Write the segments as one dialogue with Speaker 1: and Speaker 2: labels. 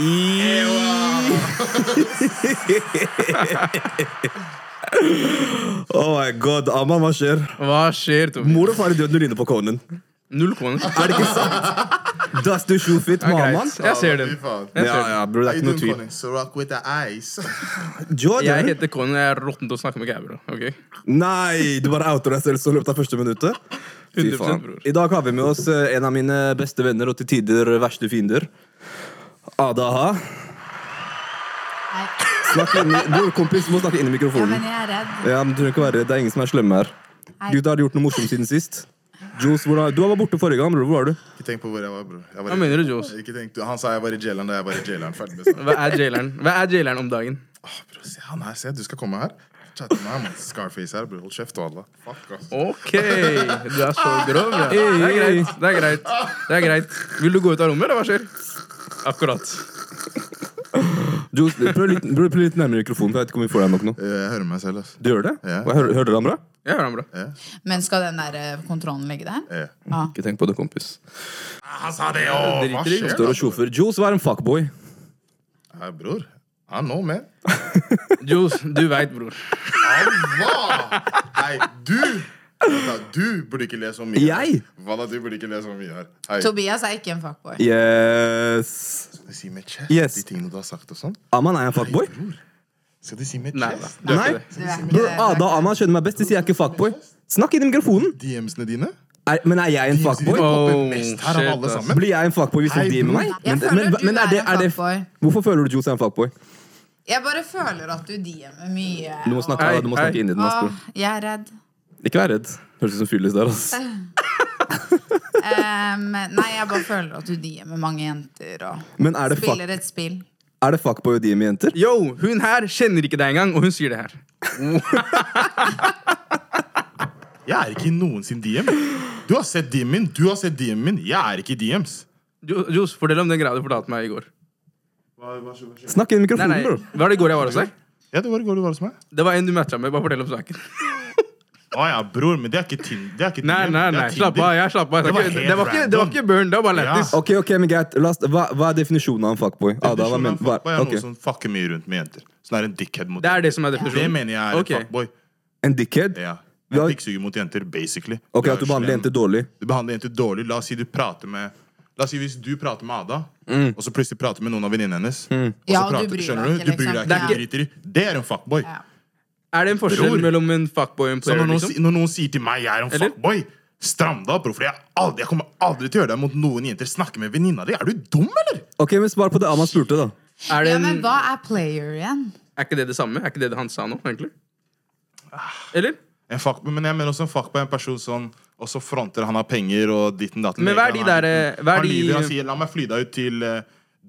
Speaker 1: I... oh my god, Amma, hva skjer?
Speaker 2: Hva skjer, Tobi?
Speaker 1: Mor og far er døde når du ligner på konen.
Speaker 2: Null kroner.
Speaker 1: Er det ikke sant? Das du sjofit,
Speaker 2: Ja, greit.
Speaker 1: mammaen?
Speaker 2: Jeg ser den.
Speaker 3: Fy faen.
Speaker 2: Jeg
Speaker 1: Ja,
Speaker 2: ser den.
Speaker 1: ja, bro, det
Speaker 3: How
Speaker 1: er
Speaker 3: you
Speaker 1: ikke noe
Speaker 3: doing,
Speaker 1: tvil.
Speaker 3: Conny? So rock with the ice.
Speaker 2: Jeg
Speaker 1: Jordan?
Speaker 2: heter Conan, jeg er råtten til å snakke med gærer, bro. Ok?
Speaker 1: Nei, du bare outer deg selv så i løpet av første minuttet. Fy
Speaker 2: 100%
Speaker 1: faen.
Speaker 2: bror.
Speaker 1: I dag har vi med oss eh, en av mine beste venner og til tider verste fiender. Adaha.
Speaker 4: Nei,
Speaker 1: Snakk inn i, bror, kompis, du må snakke inn i
Speaker 4: ja, men
Speaker 1: mikrofonen.
Speaker 4: jeg er redd.
Speaker 1: Ja, men Du trenger ikke være redd. Det er ingen som er slemme her.
Speaker 4: Nei.
Speaker 1: Gud, har du gjort noe morsomt siden sist? Jules, hvordan, du var borte forrige gang, bror. Hvor var du?
Speaker 3: Ikke tenk på hvor jeg var, bror. Jeg var
Speaker 2: Hva
Speaker 3: i-
Speaker 2: mener du, Johs?
Speaker 3: Ikke tenk, du- han sa jeg var i jaileren da jeg var i jaileren. Ferdig med snakk.
Speaker 2: Hva er jaileren? Hva er jaileren om dagen?
Speaker 3: Åh, bror, se han her, se. Du skal komme her. Chatte med ham. Scarface her, bror. Hold kjeft og alle. Fuck, ass.
Speaker 2: Ok, du er så grov, bro. Det er greit. det er greit, det er greit. Vil du gå ut av rommet, eller hva skjer? Akkurat.
Speaker 1: Jules, prøv litt, prøv, prøv litt nærmere mikrofonen. for Jeg vet ikke om vi får deg nok nå.
Speaker 3: Eh, Jeg hører meg selv, ass.
Speaker 1: Du gjør det?
Speaker 3: Ja.
Speaker 1: Hva, hører, hører dere han bra?
Speaker 2: Jeg hører han bra.
Speaker 3: Eh,
Speaker 4: Men skal den der eh, kontrollen ligge der?
Speaker 3: eh.
Speaker 4: Ja.
Speaker 1: Ikke tenk på det, kompis.
Speaker 3: Han sa det, åh! Hva
Speaker 2: Driter i.
Speaker 3: skjer?
Speaker 1: Står og tjofer. Jules var en fuckboy.
Speaker 3: Nei, bror. I know, man.
Speaker 2: Johs, du veit, bror.
Speaker 3: Hva? Nei, du! Da, du burde ikke le så mye.
Speaker 1: Jeg?
Speaker 3: Hva da, du burde ikke le så mye her. Hei.
Speaker 4: Tobias er ikke en fuckboy.
Speaker 1: Yes.
Speaker 3: Skal du si med chest
Speaker 1: Yes.
Speaker 3: de tingene du har sagt og sånn?
Speaker 1: Aman er en fuckboy?
Speaker 3: Skal du si med
Speaker 2: Nei da.
Speaker 3: chest?
Speaker 2: Du er
Speaker 1: Nei.
Speaker 2: ikke det.
Speaker 4: Du er ikke
Speaker 1: Bror,
Speaker 4: det, du er
Speaker 1: Ada og
Speaker 4: ikke det.
Speaker 1: Aman skjønner meg best. De sier jeg er ikke fuckboy. Snakk inn i mikrofonen!
Speaker 3: DMs-ene dine?
Speaker 1: Er, men er jeg en fuckboy?
Speaker 2: Oh,
Speaker 3: popper mest her av
Speaker 2: shit,
Speaker 3: alle
Speaker 2: ass.
Speaker 3: sammen.
Speaker 1: Blir jeg en fuckboy hvis
Speaker 3: Hei,
Speaker 1: de DMer meg?
Speaker 3: bror.
Speaker 4: Jeg føler du er en fuckboy.
Speaker 1: Hvorfor føler du Jules er en fuckboy?
Speaker 4: Jeg bare føler at du DM'er mye.
Speaker 1: Du må snakke,
Speaker 2: Hei,
Speaker 1: du må snakke
Speaker 2: hei.
Speaker 1: inn i den. ass,
Speaker 4: Åh, jeg er redd.
Speaker 1: bror. Ikke vær redd. Høres ut som fyllis der, ass.
Speaker 4: Em, nei, jeg bare føler at du DM'er mange jenter og
Speaker 1: Men er det, fuck,
Speaker 4: spiller et spill.
Speaker 1: er det fuckboy og DM i jenter?
Speaker 2: Yo, hun her kjenner ikke deg engang, og hun sier det her.
Speaker 3: Jeg er ikke i noen sin DM. Du har sett DM-en min, du har sett DM-en min. Jeg er ikke i DMs.
Speaker 2: Johs, fortell om den greia du fortalte meg i går.
Speaker 1: Snakk inn i
Speaker 2: Nei, nei,
Speaker 1: mikrofonen, bror.
Speaker 2: Var det i går jeg var hos deg?
Speaker 3: Ja, det var i går du var hos meg.
Speaker 2: Det var en du matcha med. Bare fortell om saken.
Speaker 3: Å ja, bror, men det er ikke Tinder. Det er ikke
Speaker 2: Nei,
Speaker 3: Tinder,
Speaker 2: nei,
Speaker 3: det er
Speaker 2: nei.
Speaker 3: Tinder.
Speaker 2: Slapp av. jeg slapp av.
Speaker 3: Det var
Speaker 2: Det,
Speaker 3: helt
Speaker 2: var ikke, det var ikke burn, det var bare lættis.
Speaker 1: Ok, ok, men greit. La oss- Hva, hva er definisjonen av en fuckboy? Ada, hva
Speaker 3: Definisjonen
Speaker 1: men,
Speaker 3: av
Speaker 1: hva,
Speaker 3: fuckboy er
Speaker 1: ok.
Speaker 3: noen som fucker mye rundt med jenter. Sånn er en dickhead mot
Speaker 2: Det er det som er
Speaker 3: Det
Speaker 2: definisjonen.
Speaker 3: mener jeg er
Speaker 2: Ok.
Speaker 3: en fuckboy.
Speaker 1: En dickhead?
Speaker 3: Ja.
Speaker 1: Vi har-
Speaker 3: En dikksuger mot jenter, basically.
Speaker 1: Ok,
Speaker 3: er
Speaker 1: At du behandler
Speaker 3: slem.
Speaker 1: jenter dårlig?
Speaker 3: Du behandler jenter dårlig. La oss si du prater med La oss si Hvis du prater med Ada,
Speaker 1: Mm.
Speaker 3: og så plutselig prater med noen av venninnene hennes og så
Speaker 4: Ja, og du
Speaker 3: prater,
Speaker 4: bryr deg
Speaker 3: skjønner
Speaker 4: ikke,
Speaker 3: du? Du bryr deg
Speaker 4: liksom.
Speaker 3: ikke,
Speaker 4: Ja.
Speaker 3: du driter i. Det er en fuckboy.
Speaker 4: Ja.
Speaker 2: Er det en forskjell
Speaker 3: Bror.
Speaker 2: mellom en fuckboy og en
Speaker 3: Så
Speaker 2: player?
Speaker 3: når noen,
Speaker 2: liksom?
Speaker 3: si- når noen sier til meg jeg er en
Speaker 2: Eller?
Speaker 3: fuckboy, stram deg opp, bror. For jeg, har aldri, jeg kommer aldri til å gjøre det mot noen jenter. Snakke med venninna di. Er du dum, eller?
Speaker 1: Ok, men Svar på det Aman spurte, da.
Speaker 2: Er, det
Speaker 4: ja, men
Speaker 2: en,
Speaker 4: hva er player igjen?
Speaker 2: er ikke det det samme? Er ikke det det han sa nå, egentlig? Eller?
Speaker 3: En fuckboy, men jeg mener også en fuckboy er en person som også fronter han har penger og ditten datten.
Speaker 2: Men hva er de
Speaker 3: Han er-
Speaker 2: der, eh, hva er
Speaker 3: Han
Speaker 2: de-
Speaker 3: lyver han sier 'la meg fly deg ut til eh,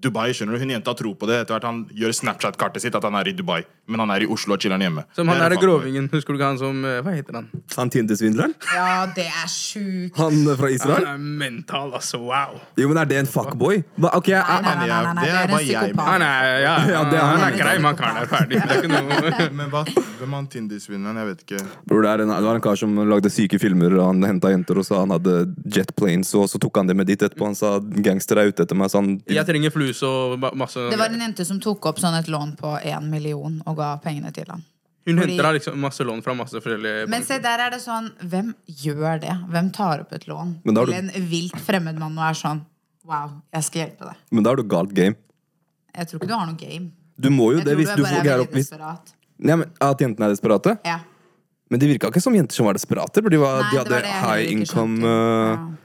Speaker 3: Dubai', skjønner du. Hun jenta tror på det. Etter hvert han gjør Snapchat-kartet sitt at han er i Dubai, men han er i Oslo og chiller'n hjemme.
Speaker 2: Som han
Speaker 3: Det
Speaker 2: der
Speaker 3: en fuckboy.
Speaker 2: grovingen. Husker du ikke han som eh, Hva heter han?
Speaker 1: Han Tinder-svindleren?
Speaker 4: Ja, det er sjukt.
Speaker 1: Han eh, fra
Speaker 2: Han
Speaker 1: Israel?
Speaker 2: er mental, altså. Wow.
Speaker 1: Jo, men er det en fuckboy? Hva- Ok, jeg,
Speaker 4: Nei,
Speaker 1: jeg,
Speaker 4: nei, nei, nei, nei,
Speaker 3: Det
Speaker 4: det
Speaker 3: er
Speaker 4: er
Speaker 3: bare
Speaker 4: en
Speaker 3: jeg, men-
Speaker 2: Han
Speaker 4: psykopat.
Speaker 2: er ja,
Speaker 1: Ja, det er
Speaker 2: han,
Speaker 1: han.
Speaker 2: er grei, men han karen er ferdig. Det er ikke noe
Speaker 3: Men hva, hvem er han Tinder-svinneren? Jeg vet ikke.
Speaker 1: Bror, det, er en, det var en kar som lagde syke filmer. og Han henta jenter og sa han hadde jet planes, og så tok han det med dit etterpå. Han sa gangster er ute etter meg. Så han,
Speaker 2: Jeg trenger flus og ba- masse
Speaker 4: Det var en jente som tok opp sånn et lån på én million og ga pengene til han.
Speaker 2: Hun henter da liksom masse lån fra masse forskjellige
Speaker 4: Men se, der er det sånn Hvem gjør det? Hvem tar opp et lån
Speaker 1: Men da har
Speaker 4: til en vilt fremmed mann og er sånn Wow, jeg skal hjelpe deg.
Speaker 1: men da er du galt game.
Speaker 4: Jeg tror ikke du har noe game.
Speaker 1: Du må jo
Speaker 4: Jeg
Speaker 1: det
Speaker 4: tror
Speaker 1: hvis
Speaker 4: du
Speaker 1: du
Speaker 4: er
Speaker 1: får
Speaker 4: bare
Speaker 1: greier
Speaker 4: er
Speaker 1: opp
Speaker 4: veldig
Speaker 1: hvis,
Speaker 4: desperat.
Speaker 1: ja, men, At jentene er desperate?
Speaker 4: Ja.
Speaker 1: Men det virka ikke som jenter som var desperate. For de, var,
Speaker 4: Nei,
Speaker 1: de
Speaker 4: det var
Speaker 1: hadde
Speaker 4: det jeg heller
Speaker 1: high
Speaker 4: ikke
Speaker 1: income.
Speaker 4: skjønte.
Speaker 1: eh,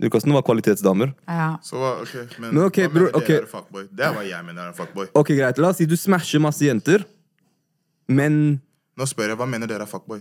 Speaker 1: Det virka som de var kvalitetsdamer.
Speaker 4: Ja. Ja.
Speaker 3: Så hva, ok, men,
Speaker 1: Men ok,
Speaker 3: hva
Speaker 1: bror,
Speaker 3: mener
Speaker 1: ok.
Speaker 3: dere er fuckboy? Det er hva jeg mener er en fuckboy.
Speaker 1: Ok, greit, La oss si du smasher masse jenter, men
Speaker 3: Nå spør jeg, hva mener dere er fuckboy?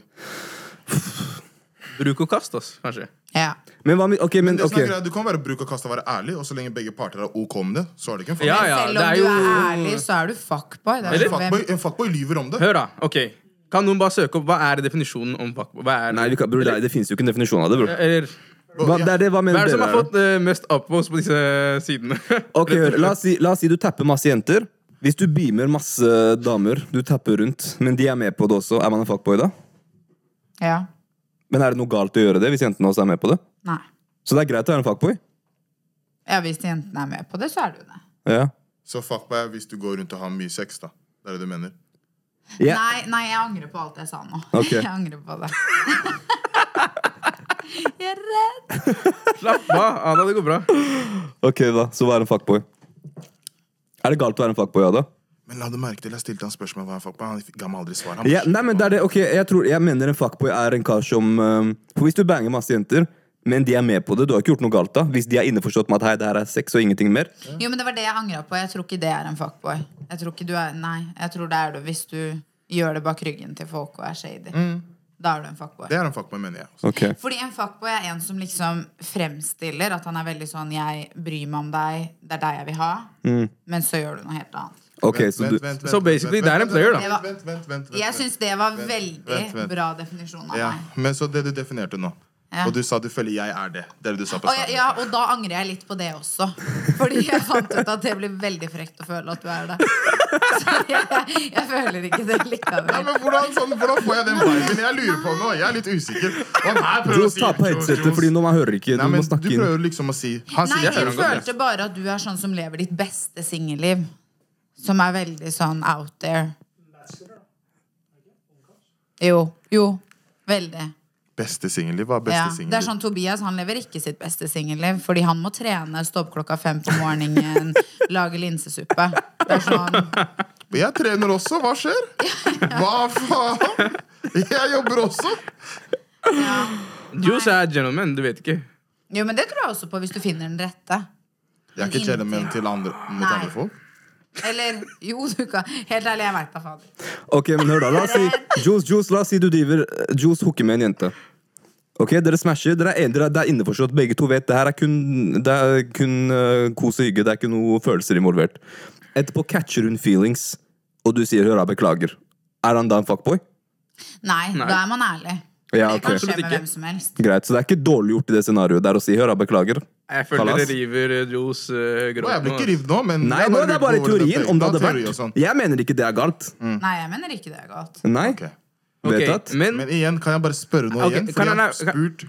Speaker 2: Bruk og kast, ass, kanskje.
Speaker 4: Ja.
Speaker 1: Men hva med Ok, men,
Speaker 3: Det som er
Speaker 1: ok.
Speaker 3: greia, du kan være bruk og kaste og være ærlig, og så lenge begge parter er OK med det, så er det ikke en fuckboy.
Speaker 2: Ja,
Speaker 4: Men
Speaker 2: ja,
Speaker 4: selv
Speaker 2: det
Speaker 4: om
Speaker 2: er
Speaker 4: du
Speaker 2: jo-
Speaker 4: er ærlig, så er du fuckboy. Det er
Speaker 3: En
Speaker 4: sånn,
Speaker 3: fuckboy,
Speaker 4: hvem-
Speaker 3: en fuckboy lyver om det.
Speaker 2: Hør, da. ok Kan noen bare søke opp hva er definisjonen om fuckboy? Hva er
Speaker 1: Nei, vi kan, bror, det, det fins jo ikke en definisjon av det, bror.
Speaker 2: Eller
Speaker 1: Hva, det er det, hva
Speaker 2: hva
Speaker 1: mener
Speaker 2: er det som
Speaker 1: dere?
Speaker 2: har
Speaker 1: er det?
Speaker 2: fått eh, mest upvotes på disse eh, sidene?
Speaker 1: Ok, hør, la oss, si, la oss si du tapper masse jenter. Hvis du beamer masse damer, du tapper rundt, men de er med på det også, er man en fuckboy da?
Speaker 4: Ja.
Speaker 1: Men er det noe galt å gjøre det hvis jentene også er med på det?
Speaker 4: Nei.
Speaker 1: Så det er greit å være en fuckboy?
Speaker 4: Ja, hvis jentene er med på det, så er du det.
Speaker 1: Ja.
Speaker 3: Så fuck meg hvis du går rundt og har mye sex, da. Det er det du mener.
Speaker 1: Ja.
Speaker 4: Nei, nei, jeg angrer på alt jeg sa nå.
Speaker 1: Ok.
Speaker 4: Jeg angrer på det. jeg er redd.
Speaker 2: Slapp av, Ada. Det går bra.
Speaker 1: Ok, da. Så være en fuckboy. Er det galt å være en fuckboy, Ada?
Speaker 3: Men la du merke til, jeg stilte han spørsmål hva han fuck meg. Han ga meg aldri svar. Han
Speaker 1: Ja, nei, men det er det, ok, jeg, tror, jeg mener en fuckboy er en kar som eh, For hvis du banger masse jenter, men de er med på det, du har ikke gjort noe galt da. Hvis de er innforstått med at hei, det her er sex og ingenting mer.
Speaker 4: Jo, men det var det jeg angra på. Jeg tror ikke det er en fuckboy. Jeg tror ikke du er Nei, jeg tror det er du hvis du gjør det bak ryggen til folk og er shady. Da er du en fuckboy.
Speaker 3: Det er en fuckboy, mener jeg. også.
Speaker 1: Ok.
Speaker 4: Fordi en fuckboy er en som liksom fremstiller at han er veldig sånn 'jeg bryr meg om deg, det er deg jeg vil ha', men så gjør du noe helt annet.
Speaker 1: Ok,
Speaker 3: Vent,
Speaker 1: så
Speaker 3: vent,
Speaker 1: du
Speaker 3: vent,
Speaker 2: så
Speaker 3: vent,
Speaker 2: basically,
Speaker 3: vent,
Speaker 2: det er en
Speaker 3: vent,
Speaker 2: player, da.
Speaker 3: vent, Vent, vent, vent, vent,
Speaker 4: Jeg
Speaker 3: vent.
Speaker 4: syns det var
Speaker 3: Vent,
Speaker 4: veldig
Speaker 3: vent, vent.
Speaker 4: bra definisjon av
Speaker 3: Ja,
Speaker 4: meg.
Speaker 3: men så det du definerte nå.
Speaker 4: Ja.
Speaker 3: Og du sa du føler jeg er det. Det er det du sa på
Speaker 4: Og, ja,
Speaker 3: starten.
Speaker 4: ja, og da angrer jeg litt på det også. Fordi jeg fant ut at det blir veldig frekt å føle at du er det. Så jeg, jeg føler ikke det
Speaker 3: Ja,
Speaker 4: likevel.
Speaker 3: men hvordan, sånn, hvordan får jeg den viben? Jeg lurer på nå. Jeg er litt usikker. Og han her prøver å
Speaker 1: Jos,
Speaker 3: si
Speaker 1: ta på headsetet, fordi når man hører ikke, du
Speaker 3: Nei, men
Speaker 1: må
Speaker 3: du
Speaker 1: snakke inn.
Speaker 3: prøver liksom å si Han
Speaker 4: Nei,
Speaker 3: sier jeg
Speaker 4: jeg
Speaker 3: hører han godt.
Speaker 4: følte bare at du er sånn som lever ditt beste singelliv. Som er veldig sånn out there. Jo. Jo. Veldig.
Speaker 3: Beste singelliv var beste
Speaker 4: Ja. Det er
Speaker 3: singelliv.
Speaker 4: sånn Tobias han lever ikke sitt beste singelliv, fordi han må trene, stå opp klokka fem på morgenen, lage linsesuppe. Det er sånn
Speaker 3: Jeg trener også. Hva skjer? Hva faen? Jeg jobber også.
Speaker 2: Juice er gentleman. Du vet ikke.
Speaker 4: Jo, men det tror jeg også på hvis du finner den rette.
Speaker 3: Jeg er ikke gentleman til andre, mot
Speaker 4: Nei.
Speaker 3: andre folk.
Speaker 4: Eller jo, du kan Helt ærlig, jeg veit da fader.
Speaker 1: Ok, men hør da, la oss si Juice, Juice, la oss si du driver eh, Juice hooker med en jente. Ok, Dere smasher, dere er, dere, det er innforstått. Begge to vet det her er kun, det er kun eh, kos og hygge. Det er ikke noe følelser involvert. Etterpå catcher hun feelings, og du sier 'høra, beklager'. Er han da en fuckboy?
Speaker 4: Nei,
Speaker 2: Nei.
Speaker 4: da er man ærlig.
Speaker 1: Ja,
Speaker 4: Det kan
Speaker 1: ok.
Speaker 4: skje
Speaker 2: Absolutt
Speaker 4: med
Speaker 2: ikke.
Speaker 4: hvem som helst.
Speaker 1: Greit, Så det er ikke dårlig gjort i det scenarioet der å si 'høra, beklager'.
Speaker 2: Jeg føler
Speaker 1: Kalas.
Speaker 2: det river eh, Juice eh,
Speaker 3: Og jeg
Speaker 2: gråten.
Speaker 3: blir ikke
Speaker 2: ass.
Speaker 3: rivd nå, men
Speaker 1: Nei,
Speaker 3: jeg
Speaker 1: nå, det
Speaker 3: lurer
Speaker 1: er bare
Speaker 3: på hvor
Speaker 1: teorien. Om det hadde
Speaker 3: teori og sånn.
Speaker 1: vært Jeg mener ikke det er galt.
Speaker 3: Mm.
Speaker 4: Nei, jeg mener ikke det er galt.
Speaker 1: Nei.
Speaker 3: Ok.
Speaker 2: Ok, Mm.
Speaker 1: Vedtatt.
Speaker 2: Men
Speaker 3: Men igjen, kan jeg bare spørre noe
Speaker 2: Ok,
Speaker 3: igjen?
Speaker 2: kan
Speaker 3: Fordi
Speaker 2: jeg-
Speaker 3: jeg har spurt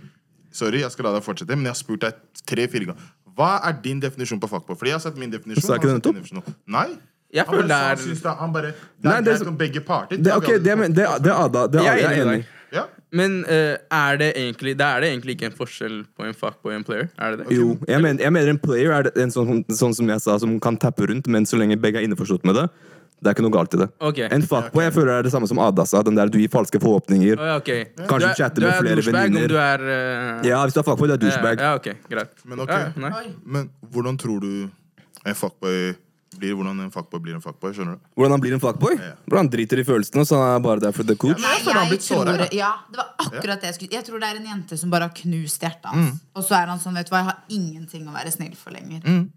Speaker 3: Sorry, jeg skal la deg fortsette, men jeg har spurt deg tre-fire ganger. Hva er din definisjon på fuckboy? Fordi jeg har sett min definisjon.
Speaker 1: Sa ikke
Speaker 3: han har
Speaker 1: du
Speaker 3: sett din definisjon. Nei.
Speaker 2: Jeg
Speaker 3: han bare
Speaker 2: føler
Speaker 3: sa
Speaker 2: det
Speaker 3: han
Speaker 2: er-
Speaker 3: syns det er Han bare Det
Speaker 1: Nei,
Speaker 3: er
Speaker 1: det er
Speaker 3: greit
Speaker 1: så-
Speaker 3: om begge parter.
Speaker 1: Det, ok, det, men- det, det er Ada. Det er Ada,
Speaker 2: jeg
Speaker 1: jeg er enig.
Speaker 2: i deg.
Speaker 3: Ja.
Speaker 2: Men eh, er det egentlig Da er det egentlig ikke en forskjell på en fuckboy og en player? Er det det?
Speaker 1: Jo, jeg mener, jeg mener en player er det- en sånn, sånn som jeg sa, som kan tappe rundt, men så lenge begge er innforstått med det, det er ikke noe galt i det.
Speaker 2: Ok.
Speaker 1: En fuckboy jeg føler er det samme som Ada sa, den der du gir falske forhåpninger.
Speaker 2: Å, ja, ok.
Speaker 1: Kanskje
Speaker 2: Du er-
Speaker 1: chatte med flere venninner.
Speaker 2: Du er douchebag om du er eh,
Speaker 1: Ja, hvis du er fuckboy, det er douchebag.
Speaker 2: Ja, ja, ok, greit.
Speaker 3: Men ok.
Speaker 2: Ja, ja, nei.
Speaker 3: Men hvordan tror du en fuckboy blir Hvordan en fuckboy blir en fuckboy? Skjønner du?
Speaker 1: Hvordan han blir en fuckboy? Bro, han driter i følelsene, så han er bare der for the coach.
Speaker 4: Nei,
Speaker 3: jeg føler han blir såret, da.
Speaker 4: ja, det var akkurat det jeg skulle Jeg tror det er en jente som bare har knust hjertet
Speaker 1: Mm.
Speaker 4: hans. Og så er han sånn, vet du hva, jeg har ingenting å være snill for lenger.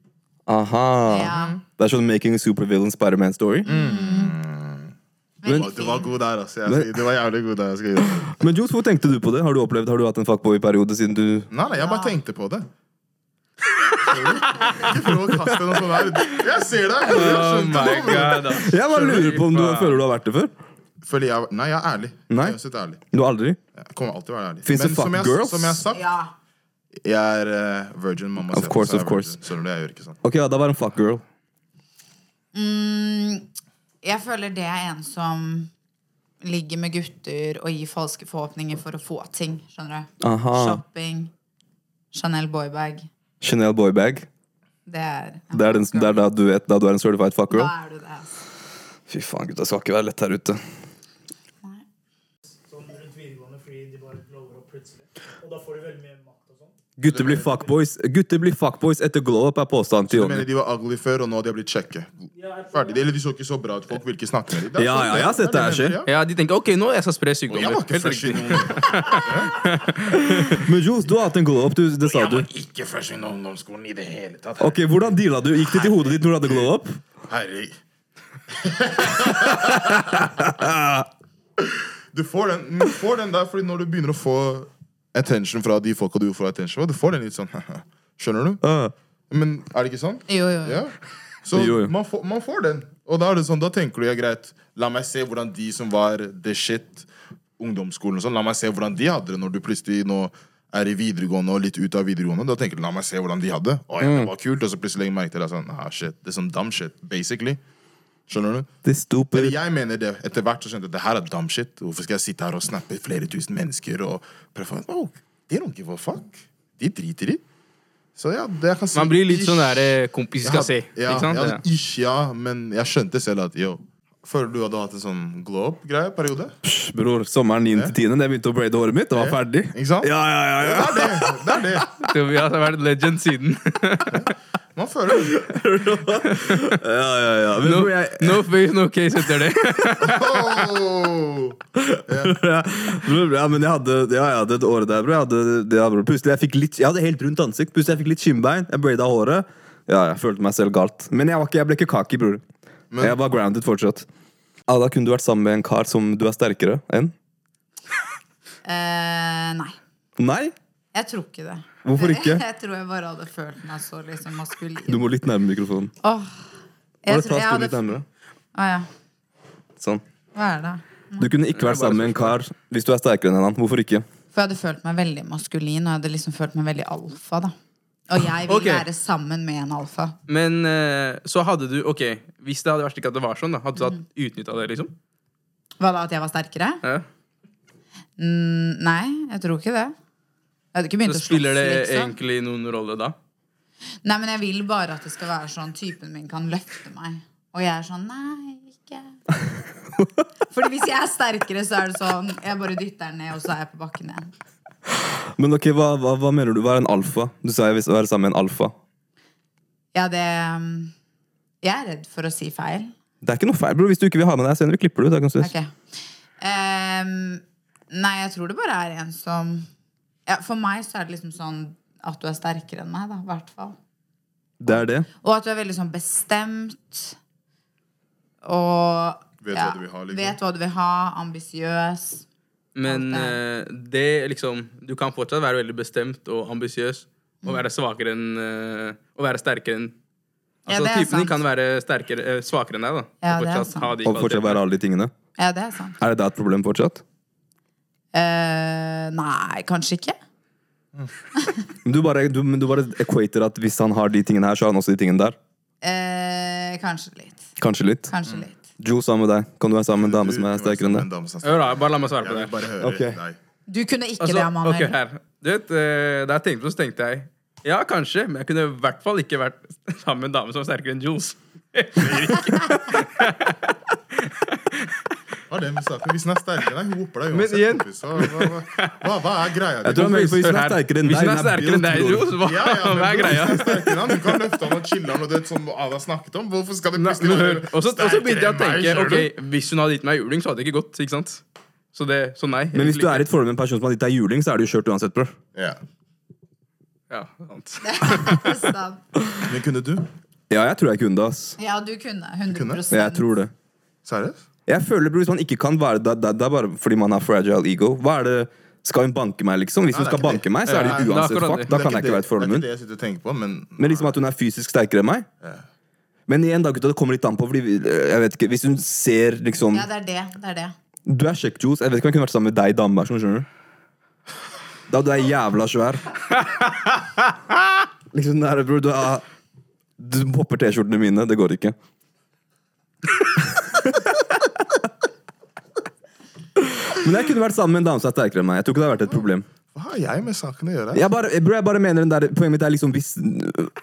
Speaker 1: Aha.
Speaker 4: Ja,
Speaker 1: Det er sånn making a supervillain Spiderman story.
Speaker 4: veldig
Speaker 3: Å, Du var
Speaker 4: fin.
Speaker 3: god der, altså. Jeg, skal- du var jævlig god der. Jeg skal gi deg. den.
Speaker 1: Men Jules, hvor tenkte du på det? Har du opplevd, har du hatt en fuckboy-periode siden du
Speaker 3: Nei, nei, jeg bare tenkte på det. Ikke prøv å kaste noe sånt her. Jeg ser deg!
Speaker 2: Oh
Speaker 3: Jeg skjønte
Speaker 2: my
Speaker 3: det, bro.
Speaker 2: god, ass.
Speaker 1: Jeg bare lurer på om du føler du har vært det før?
Speaker 3: Føler jeg Nei, jeg er ærlig.
Speaker 1: Nei.
Speaker 3: Jeg er uansett ærlig.
Speaker 1: Du har aldri?
Speaker 3: Jeg kommer alltid være ærlig.
Speaker 1: Finnes det
Speaker 3: Men som jeg,
Speaker 1: fuckgirls?
Speaker 3: Som jeg har sagt,
Speaker 4: Ja.
Speaker 3: jeg er eh, virgin. Mamma
Speaker 1: Of
Speaker 3: sier at
Speaker 1: course,
Speaker 3: jeg er
Speaker 1: of course.
Speaker 3: virgin, Skjønner du, jeg gjør ikke sånn.
Speaker 1: Ok, Ada var en fuckgirl.
Speaker 4: Mm, Jeg føler det er en som ligger med gutter og gir falske forhåpninger for å få ting. Skjønner du?
Speaker 1: Aha.
Speaker 4: Shopping. Chanel boybag.
Speaker 1: Chanel boybag.
Speaker 4: Det er
Speaker 1: Det er, den, det er da du vet da du er en certified fuckgirl.
Speaker 4: Da er du det. Altså.
Speaker 1: Fy faen, gutta. Det skal ikke være lett her ute.
Speaker 5: sånn rundt videregående fordi de bare blower opp plutselig. Og da får du veldig mye makt og sånn.
Speaker 1: Gutter blir fuckboys Gutter blir fuckboys etter glow up, er påstanden til
Speaker 3: Jeg mener
Speaker 1: Jonny.
Speaker 3: De var ugly før, og nå har de blitt kjekke. Ferdig. Eller de så ikke så bra ut. Folk vil ikke snakke med dem. Det er
Speaker 1: Ja, ja,
Speaker 3: sånn det er.
Speaker 1: jeg har sett det her skje.
Speaker 3: Ja.
Speaker 2: Ja, de tenker ok, nå jeg skal spre
Speaker 3: Jeg
Speaker 2: sykdommer.
Speaker 3: var ikke
Speaker 2: Helt
Speaker 3: fresh
Speaker 2: riktig.
Speaker 3: i noen-
Speaker 1: Men Jules, du har hatt en glow up, du, det sa du.
Speaker 3: ikke fresh i noen ungdomsskolen i det hele tatt.
Speaker 1: Ok, Hvordan deala du? Gikk det til hodet ditt når du hadde glow up?
Speaker 3: Herregud. du, får den, du får den der fordi når du begynner å få attention fra de folka du får attention fra, du får den litt sånn Skjønner du?
Speaker 1: Ah.
Speaker 3: Men er det ikke sånn?
Speaker 4: Jo, jo, jo.
Speaker 3: Ja. Så
Speaker 1: Jo, jo.
Speaker 3: Man, får, man får den. Og da er det sånn, da tenker du ja, greit, la meg se hvordan de som var the shit, ungdomsskolen og sånn, la meg se hvordan de hadde det når du plutselig nå er i videregående og litt ut av videregående. Da tenker du la meg se hvordan de hadde. Å, ja,
Speaker 2: Mm.
Speaker 3: det var kult, Og så plutselig legger jeg merke til det. Sånn, ah, shit, det er sånn dumb shit, basically. Skjønner du?
Speaker 1: Det er stupid.
Speaker 3: Eller jeg mener det. Etter hvert så skjønte jeg at det her er dumb shit. Hvorfor skal jeg sitte her og snappe flere tusen mennesker og prøve å oh, They don't give a fuck. De driter i. Så ja, det jeg kan si
Speaker 2: Man blir litt sånn der
Speaker 3: ish.
Speaker 2: eh, kompis skal se.
Speaker 3: Jeg hadde- Ja,
Speaker 2: ikke sant?
Speaker 3: jeg hadde ish, ja, men jeg skjønte selv at yo Føler du hadde hatt en sånn glow up-greie periode?
Speaker 1: Psh, Bror, sommeren 9. til 10. Da jeg begynte å braide håret mitt, det var ferdig.
Speaker 3: Ikke sant?
Speaker 1: Ja, ja, ja, ja.
Speaker 3: Det er det. det er det.
Speaker 2: Tobias har vært legend siden.
Speaker 3: Man føler
Speaker 1: ja, ja, ja. Men,
Speaker 2: No,
Speaker 1: bror, jeg,
Speaker 2: no face, no case etter det.
Speaker 3: oh!
Speaker 1: bror, ja, men jeg hadde ja, jeg hadde et året der, bror. Jeg hadde, det, ja, bror. Plutselig jeg fikk litt Jeg hadde helt rundt ansikt. Plutselig jeg fikk litt kinnbein. Jeg braida håret. Ja, jeg følte meg selv galt. Men jeg, var ikke, jeg ble ikke kaki, bror. Jeg var grounded fortsatt. Ja, da kunne du vært sammen med en kar som du er sterkere enn.
Speaker 4: Eh, nei.
Speaker 1: Nei?
Speaker 4: Jeg tror ikke det.
Speaker 1: Hvorfor ikke?
Speaker 4: Jeg tror jeg bare hadde følt meg så liksom maskulin.
Speaker 1: Du må litt nærmere mikrofonen.
Speaker 4: Åh.
Speaker 1: Bare
Speaker 4: Jeg tror
Speaker 1: ta
Speaker 4: jeg
Speaker 1: stolen
Speaker 4: hadde
Speaker 1: litt nærmere.
Speaker 4: Å ja.
Speaker 1: Sånn.
Speaker 4: Hva er det?
Speaker 1: Du kunne ikke vært sammen med en kar hvis du er sterkere enn han. Hvorfor ikke?
Speaker 4: For jeg hadde følt meg veldig maskulin, og jeg hadde liksom følt meg veldig alfa, da. Og jeg vil
Speaker 2: Ok.
Speaker 4: være sammen med en alfa.
Speaker 2: Men eh, så hadde du Ok, hvis det hadde vært slik at det var sånn, da, hadde du
Speaker 4: Mm.
Speaker 2: hatt utnytta det, liksom?
Speaker 4: Hva da, at jeg var sterkere?
Speaker 2: Ja.
Speaker 4: Mm, nei, jeg tror ikke det. Jeg hadde ikke begynt
Speaker 2: Så
Speaker 4: å slåss,
Speaker 2: spiller det
Speaker 4: liksom.
Speaker 2: egentlig noen rolle da?
Speaker 4: Nei, men jeg vil bare at det skal være sånn typen min kan løfte meg. Og jeg er sånn nei, ikke Fordi hvis jeg er sterkere, så er det sånn Jeg bare dytter den ned, og så er jeg på bakken igjen.
Speaker 1: Men ok, hva, hva, hva mener du? Hva er en alfa? Du sa jeg vil være sammen med en alfa.
Speaker 4: Ja, det um, Jeg er redd for å si feil.
Speaker 1: Det er ikke noe feil, bror. Hvis du ikke vil ha med deg senere, vi klipper det ut. Det er ikke noe stress.
Speaker 4: Ok. Ehm, nei, jeg tror det bare er en som ja, For meg så er det liksom sånn at du er sterkere enn meg, da. I hvert fall.
Speaker 1: Det er det.
Speaker 4: Og at du er veldig sånn bestemt. Og
Speaker 3: Vet hva du vil ha, liksom.
Speaker 4: Vet hva du vil ha. Ambisiøs.
Speaker 2: Men
Speaker 4: Alt
Speaker 2: eh, det liksom Du kan fortsatt være veldig bestemt og ambisiøs og
Speaker 4: Mm.
Speaker 2: være svakere enn eh, Og være sterkere enn
Speaker 4: Ja,
Speaker 2: Altså,
Speaker 4: det er
Speaker 2: typen din
Speaker 4: sant.
Speaker 2: kan være sterkere, eh, svakere enn deg, da.
Speaker 4: Ja,
Speaker 2: og
Speaker 4: det er
Speaker 2: fortsatt
Speaker 4: sant.
Speaker 2: ha de
Speaker 1: Og fortsatt
Speaker 2: kvalitetene.
Speaker 1: være alle de tingene.
Speaker 4: Ja, det er sant.
Speaker 1: Er det da et problem fortsatt?
Speaker 4: Eh, nei, kanskje ikke.
Speaker 1: Men Du bare, du, men du bare equater at hvis han har de tingene her, så har han også de tingene der.
Speaker 4: Eh, kanskje litt.
Speaker 1: Kanskje litt.
Speaker 2: Mm.
Speaker 4: Kanskje litt.
Speaker 1: Joe, sammen med deg. Kan du være sammen med en dame som er
Speaker 3: Du- du-
Speaker 1: sterkere enn
Speaker 3: en
Speaker 1: deg?
Speaker 3: dame som er
Speaker 2: Hør da,
Speaker 3: sterkere.
Speaker 2: Bare la meg svare
Speaker 3: Jeg
Speaker 2: på det.
Speaker 3: vil bare høre
Speaker 1: Ok.
Speaker 3: deg.
Speaker 4: Du kunne ikke
Speaker 2: Altså,
Speaker 4: det, Manuel.
Speaker 2: ok, her. Du vet, eh, da jeg tenkte på det, så tenkte jeg ja, kanskje, men jeg kunne i hvert fall ikke vært sammen med en dame som er sterkere enn Jules.
Speaker 3: Hva er det med saken? Hvis den er sterkere, den hoper deg
Speaker 2: Men
Speaker 3: uansett.
Speaker 2: igjen-
Speaker 3: kompis. Hva, hva, hva, hva, hva er greia
Speaker 1: Jeg tror han mener, for Hvis
Speaker 2: Hør
Speaker 1: hun er
Speaker 2: her.
Speaker 1: sterkere enn
Speaker 2: Hvis
Speaker 1: deg,
Speaker 2: hun er
Speaker 1: den
Speaker 2: sterkere
Speaker 1: built,
Speaker 2: enn deg,
Speaker 1: bror.
Speaker 2: Jules, hva,
Speaker 3: Ja, ja, men
Speaker 2: hva er
Speaker 3: bror,
Speaker 2: greia?
Speaker 3: hvis den er sterkere, da, Du kan løfte han og chille han og det som Ada snakket om. Hvorfor skal det
Speaker 2: Nei,
Speaker 3: plutselig
Speaker 2: men hør,
Speaker 3: være
Speaker 2: og så og så begynte jeg å
Speaker 3: sterkere
Speaker 2: tenke
Speaker 3: enn meg, skjønner
Speaker 2: ok, hvis hun hadde gitt meg juling, så hadde det ikke gått. ikke sant? Så, det, så nei.
Speaker 1: Men hvis
Speaker 2: egentlig
Speaker 1: du er i et forhold med en person som har gitt deg juling, så er du kjørt uansett, bror.
Speaker 3: du? Ja.
Speaker 2: ikke- ja, sant.
Speaker 4: Sant.
Speaker 3: Men kunne du?
Speaker 1: Ja, jeg tror jeg kunne det, ass.
Speaker 4: Ja, du kunne. 100
Speaker 3: kunne?
Speaker 1: Jeg tror det.
Speaker 3: Seriøst?
Speaker 1: Jeg føler, bror, hvis man ikke kan være det, det, det er bare fordi man har fragile ego. Hva er det Skal hun banke meg, liksom? Hvis
Speaker 3: Nei,
Speaker 1: hun
Speaker 3: det er
Speaker 1: skal
Speaker 3: ikke
Speaker 1: banke
Speaker 3: det.
Speaker 1: meg, så er
Speaker 2: Ja,
Speaker 1: det
Speaker 2: det er
Speaker 1: uansett
Speaker 2: akkurat
Speaker 1: fuck.
Speaker 2: det.
Speaker 1: Da
Speaker 3: Det er
Speaker 1: kan
Speaker 3: ikke
Speaker 1: jeg ikke
Speaker 3: det-
Speaker 1: være et forhold med
Speaker 3: Det
Speaker 1: henne.
Speaker 3: er ikke det jeg sitter og tenker på, men
Speaker 1: Men liksom at hun er fysisk sterkere enn meg. Men igjen, da, gutta, det kommer litt an på. Fordi, vi- eh, jeg vet ikke, Hvis hun ser liksom
Speaker 4: Ja, det er det. det, er det.
Speaker 1: Du er kjekk, Johs. Jeg vet ikke om jeg kunne vært sammen med deg i Danmark. Skjønner du? Da du er jævla svær. Liksom, nei, bror, du er Du popper T-skjortene mine. Det går ikke. Men jeg kunne vært sammen med en dame som er sterkere enn meg. Jeg tror ikke det har vært et problem.
Speaker 3: hva har jeg med saken å gjøre?
Speaker 1: Jeg bare, jeg, bro, jeg bare mener den der, Poenget mitt er liksom hvis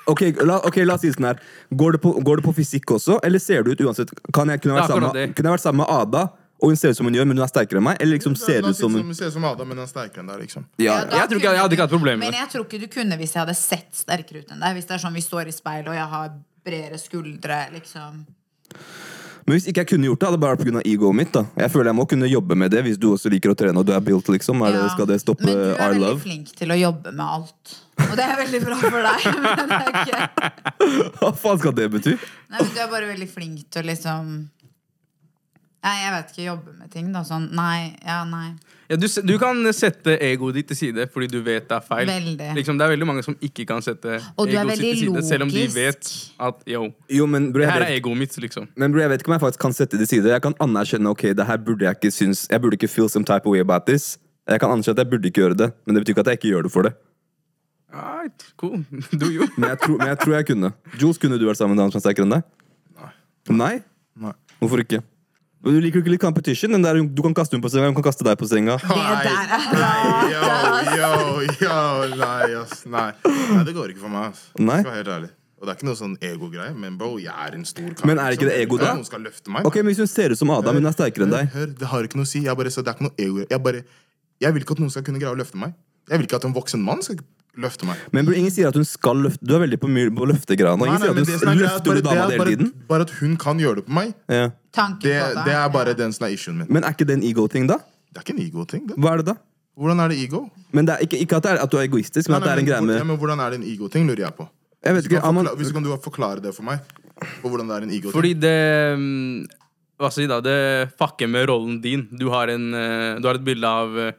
Speaker 1: Ok, la, ok, la oss si det sånn her. Går det, på, går det på fysikk også, eller ser det ut uansett? Kan jeg, kunne, jeg
Speaker 2: Det er
Speaker 1: vært sammen,
Speaker 2: akkurat
Speaker 1: med-
Speaker 2: det.
Speaker 1: kunne jeg vært sammen med Ada, og hun ser ut som hun gjør, men hun er sterkere enn meg? Eller liksom ser
Speaker 3: La
Speaker 1: ut
Speaker 3: oss si
Speaker 1: som
Speaker 3: det
Speaker 1: hun
Speaker 3: Ser ut som Adam, men han er sterkere enn deg, liksom.
Speaker 1: ja,
Speaker 4: sånn Ja, da
Speaker 2: jeg tror ikke- jeg hadde ikke hatt
Speaker 4: du-
Speaker 2: problemer med
Speaker 4: Men jeg tror ikke du kunne hvis jeg hadde sett sterkere ut enn deg. Hvis det er sånn vi står i speil, og jeg har bredere skuldre, liksom.
Speaker 1: Men hvis ikke jeg kunne gjort det, hadde det bare vært pga. egoet mitt. da Jeg føler jeg må kunne jobbe med det hvis du også liker å trene og du er built, liksom. Er det,
Speaker 4: Ja.
Speaker 1: skal det stoppe
Speaker 4: Men du er
Speaker 1: our
Speaker 4: veldig
Speaker 1: love?
Speaker 4: flink til å jobbe med alt. Og det er veldig bra for deg. Men det er ikke...
Speaker 1: Hva faen skal det bety?
Speaker 4: Nei, men du er bare veldig flink til å liksom Nei, jeg vet ikke, jobbe med ting, da. Sånn nei, ja, nei.
Speaker 2: Ja, du, se- du kan sette egoet ditt til side fordi du vet det er feil.
Speaker 4: Veldig.
Speaker 2: Liksom, det er veldig mange som ikke kan sette
Speaker 4: Og du er
Speaker 2: egoet sitt til
Speaker 4: veldig
Speaker 2: side, selv om de
Speaker 4: logisk.
Speaker 2: vet at yo,
Speaker 1: Jo, men bro,
Speaker 2: det
Speaker 1: jeg
Speaker 2: her
Speaker 1: vet,
Speaker 2: er egoet mitt, liksom.
Speaker 1: men bro, jeg vet ikke om jeg faktisk kan sette det til side. Jeg kan anerkjenne ok, det her burde jeg ikke synes Jeg burde ikke feel some type of way about this. Jeg kan anse at jeg burde ikke gjøre det, men det betyr ikke at jeg ikke gjør det for det.
Speaker 2: Alright, cool. Do you?
Speaker 1: Men jeg, tror- men jeg tror jeg kunne. Jules, kunne du vært sammen med en som er sterkere enn deg? Nei?
Speaker 3: Nei.
Speaker 1: Hvorfor ikke? Men Du liker jo ikke litt competition? Den der, du kan kaste hun på senga, hun kan kaste deg på senga.
Speaker 4: Det der er
Speaker 3: Yo, yo, yo, nei, ass. Nei. nei, det går ikke for meg. ass.
Speaker 1: Nei?
Speaker 3: Skal være helt ærlig. Og det er ikke noe sånn ego-greie, men bro, jeg er en stor kar. liksom.
Speaker 1: Men er det ikke det ego, da?
Speaker 3: Ja, Noen skal løfte meg.
Speaker 1: Ok, men Hvis hun ser ut som Adam, hun er sterkere enn
Speaker 3: Hør,
Speaker 1: deg.
Speaker 3: hør, det har ikke noe å si. Jeg bare, så det er ikke noe ego. Jeg bare, jeg vil ikke at noen skal kunne greie å løfte meg. Jeg vil ikke at en voksen mann skal løfte meg.
Speaker 1: Men bro, ingen sier at hun skal løfte Du er veldig på, my- på løftegreia nå.
Speaker 3: Nei,
Speaker 1: Ingen
Speaker 3: nei,
Speaker 1: sier at
Speaker 3: men
Speaker 1: hun
Speaker 3: det
Speaker 1: s-
Speaker 3: som er greia er at
Speaker 1: løfter du
Speaker 3: bare-
Speaker 1: dama
Speaker 3: det er
Speaker 1: hele
Speaker 3: bare-
Speaker 1: tiden.
Speaker 3: Bare at hun kan gjøre det på meg,
Speaker 1: Ja.
Speaker 4: tanken
Speaker 3: det,
Speaker 4: på det.
Speaker 3: det er bare den som er issuen min.
Speaker 1: Men er ikke det en ego-ting, da?
Speaker 3: Det er ikke en ego-ting. det.
Speaker 1: Hva er det da?
Speaker 3: Hvordan er det ego?
Speaker 1: Men det er ikke, ikke at, det er, at du er egoistisk, men
Speaker 3: Nei,
Speaker 1: at det er
Speaker 3: nei,
Speaker 1: en greie
Speaker 3: men, hvor- ja,
Speaker 1: med
Speaker 3: men Hvordan er det en ego-ting, lurer jeg
Speaker 1: Jeg
Speaker 3: på.
Speaker 1: vet
Speaker 3: Hvis du
Speaker 1: ikke,
Speaker 3: kan
Speaker 1: Aman
Speaker 3: forkla- Hvis du kan du forklare det for meg. på Hvordan det er en ego-ting.
Speaker 2: Fordi det mm, Hva skal jeg si da? Det fucker med rollen din. Du har, en, eh, du har et bilde av, eh,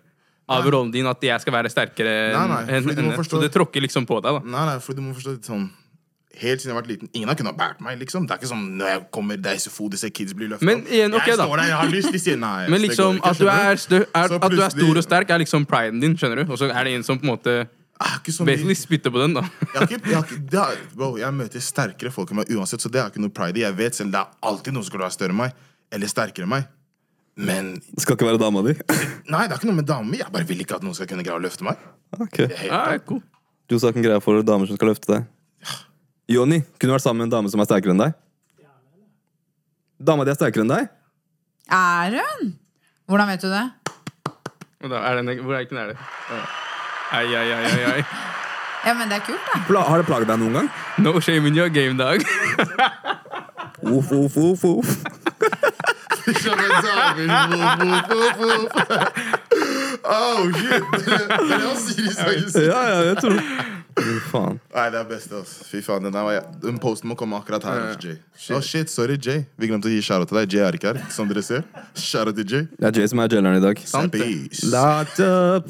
Speaker 2: av rollen din at jeg skal være sterkere
Speaker 3: Nei,
Speaker 2: enn
Speaker 3: nei,
Speaker 2: enn
Speaker 3: fordi du må
Speaker 2: henne.
Speaker 3: forstå-
Speaker 2: Så det tråkker liksom på deg, da.
Speaker 3: Nei, nei, fordi du må forstå det sånn Helt siden jeg har vært liten. Ingen har kunnet bært meg. liksom Det er ikke sånn når jeg kommer, det er SFO, disse kids blir løftet
Speaker 2: Men
Speaker 3: opp.
Speaker 2: igjen, ok
Speaker 3: Jeg
Speaker 2: da.
Speaker 3: står der, jeg har lyst, de sier nei.
Speaker 2: Men
Speaker 3: det
Speaker 2: liksom
Speaker 3: går ikke,
Speaker 2: at du
Speaker 3: skjønner
Speaker 2: er, stø, er,
Speaker 3: Så
Speaker 2: at du er stor
Speaker 3: plutselig-
Speaker 2: og sterk, er liksom priden din, skjønner du. Og så er det en som på en måte
Speaker 3: Jeg har ikke så mye-
Speaker 2: basically spytter på den, da.
Speaker 3: Jeg, har ikke, jeg, har ikke, det er, bro, jeg møter sterkere folk enn meg uansett, så det er ikke noe pride i. Jeg vet selv det er alltid noen som skal være større enn meg, eller sterkere enn meg. Men
Speaker 1: Skal ikke være dama di?
Speaker 3: nei, det er ikke noe med damer. Jeg bare vil ikke at noen skal kunne greie å løfte meg.
Speaker 1: Ok.
Speaker 3: Det er helt-
Speaker 2: Ja, cool.
Speaker 1: Du sa ikke en greie for damer som skal løfte deg. Jonny, kunne du vært sammen med en dame som er sterkere enn deg? Dama di er sterkere enn deg?
Speaker 4: Er hun? Hvordan vet du det?
Speaker 2: Og da er den, hvor er den er det? Ja. Ai, ai, ai, ai, ai.
Speaker 4: Ja, men det er kult, da.
Speaker 1: Pla har det plaget deg noen gang?
Speaker 2: No shame in your game, dag.
Speaker 1: Uff, uff, uff, uff.
Speaker 3: Oh, shit! Men jeg var seriøs, jeg var ikke
Speaker 1: Ja,
Speaker 3: seriøs.
Speaker 1: ja, jeg tror det. Fy faen.
Speaker 3: Nei, det er best, altså. Fy faen, den, der var jeg- den posten må komme akkurat her. Jay. Å, shit, sorry, Jay. Vi glemte å gi shout til deg. Jay er ikke her, som dere ser. Shout til Jay.
Speaker 1: Det er Jay som er jaileren i dag.
Speaker 2: Sant det.
Speaker 3: Peace.
Speaker 1: Locked up.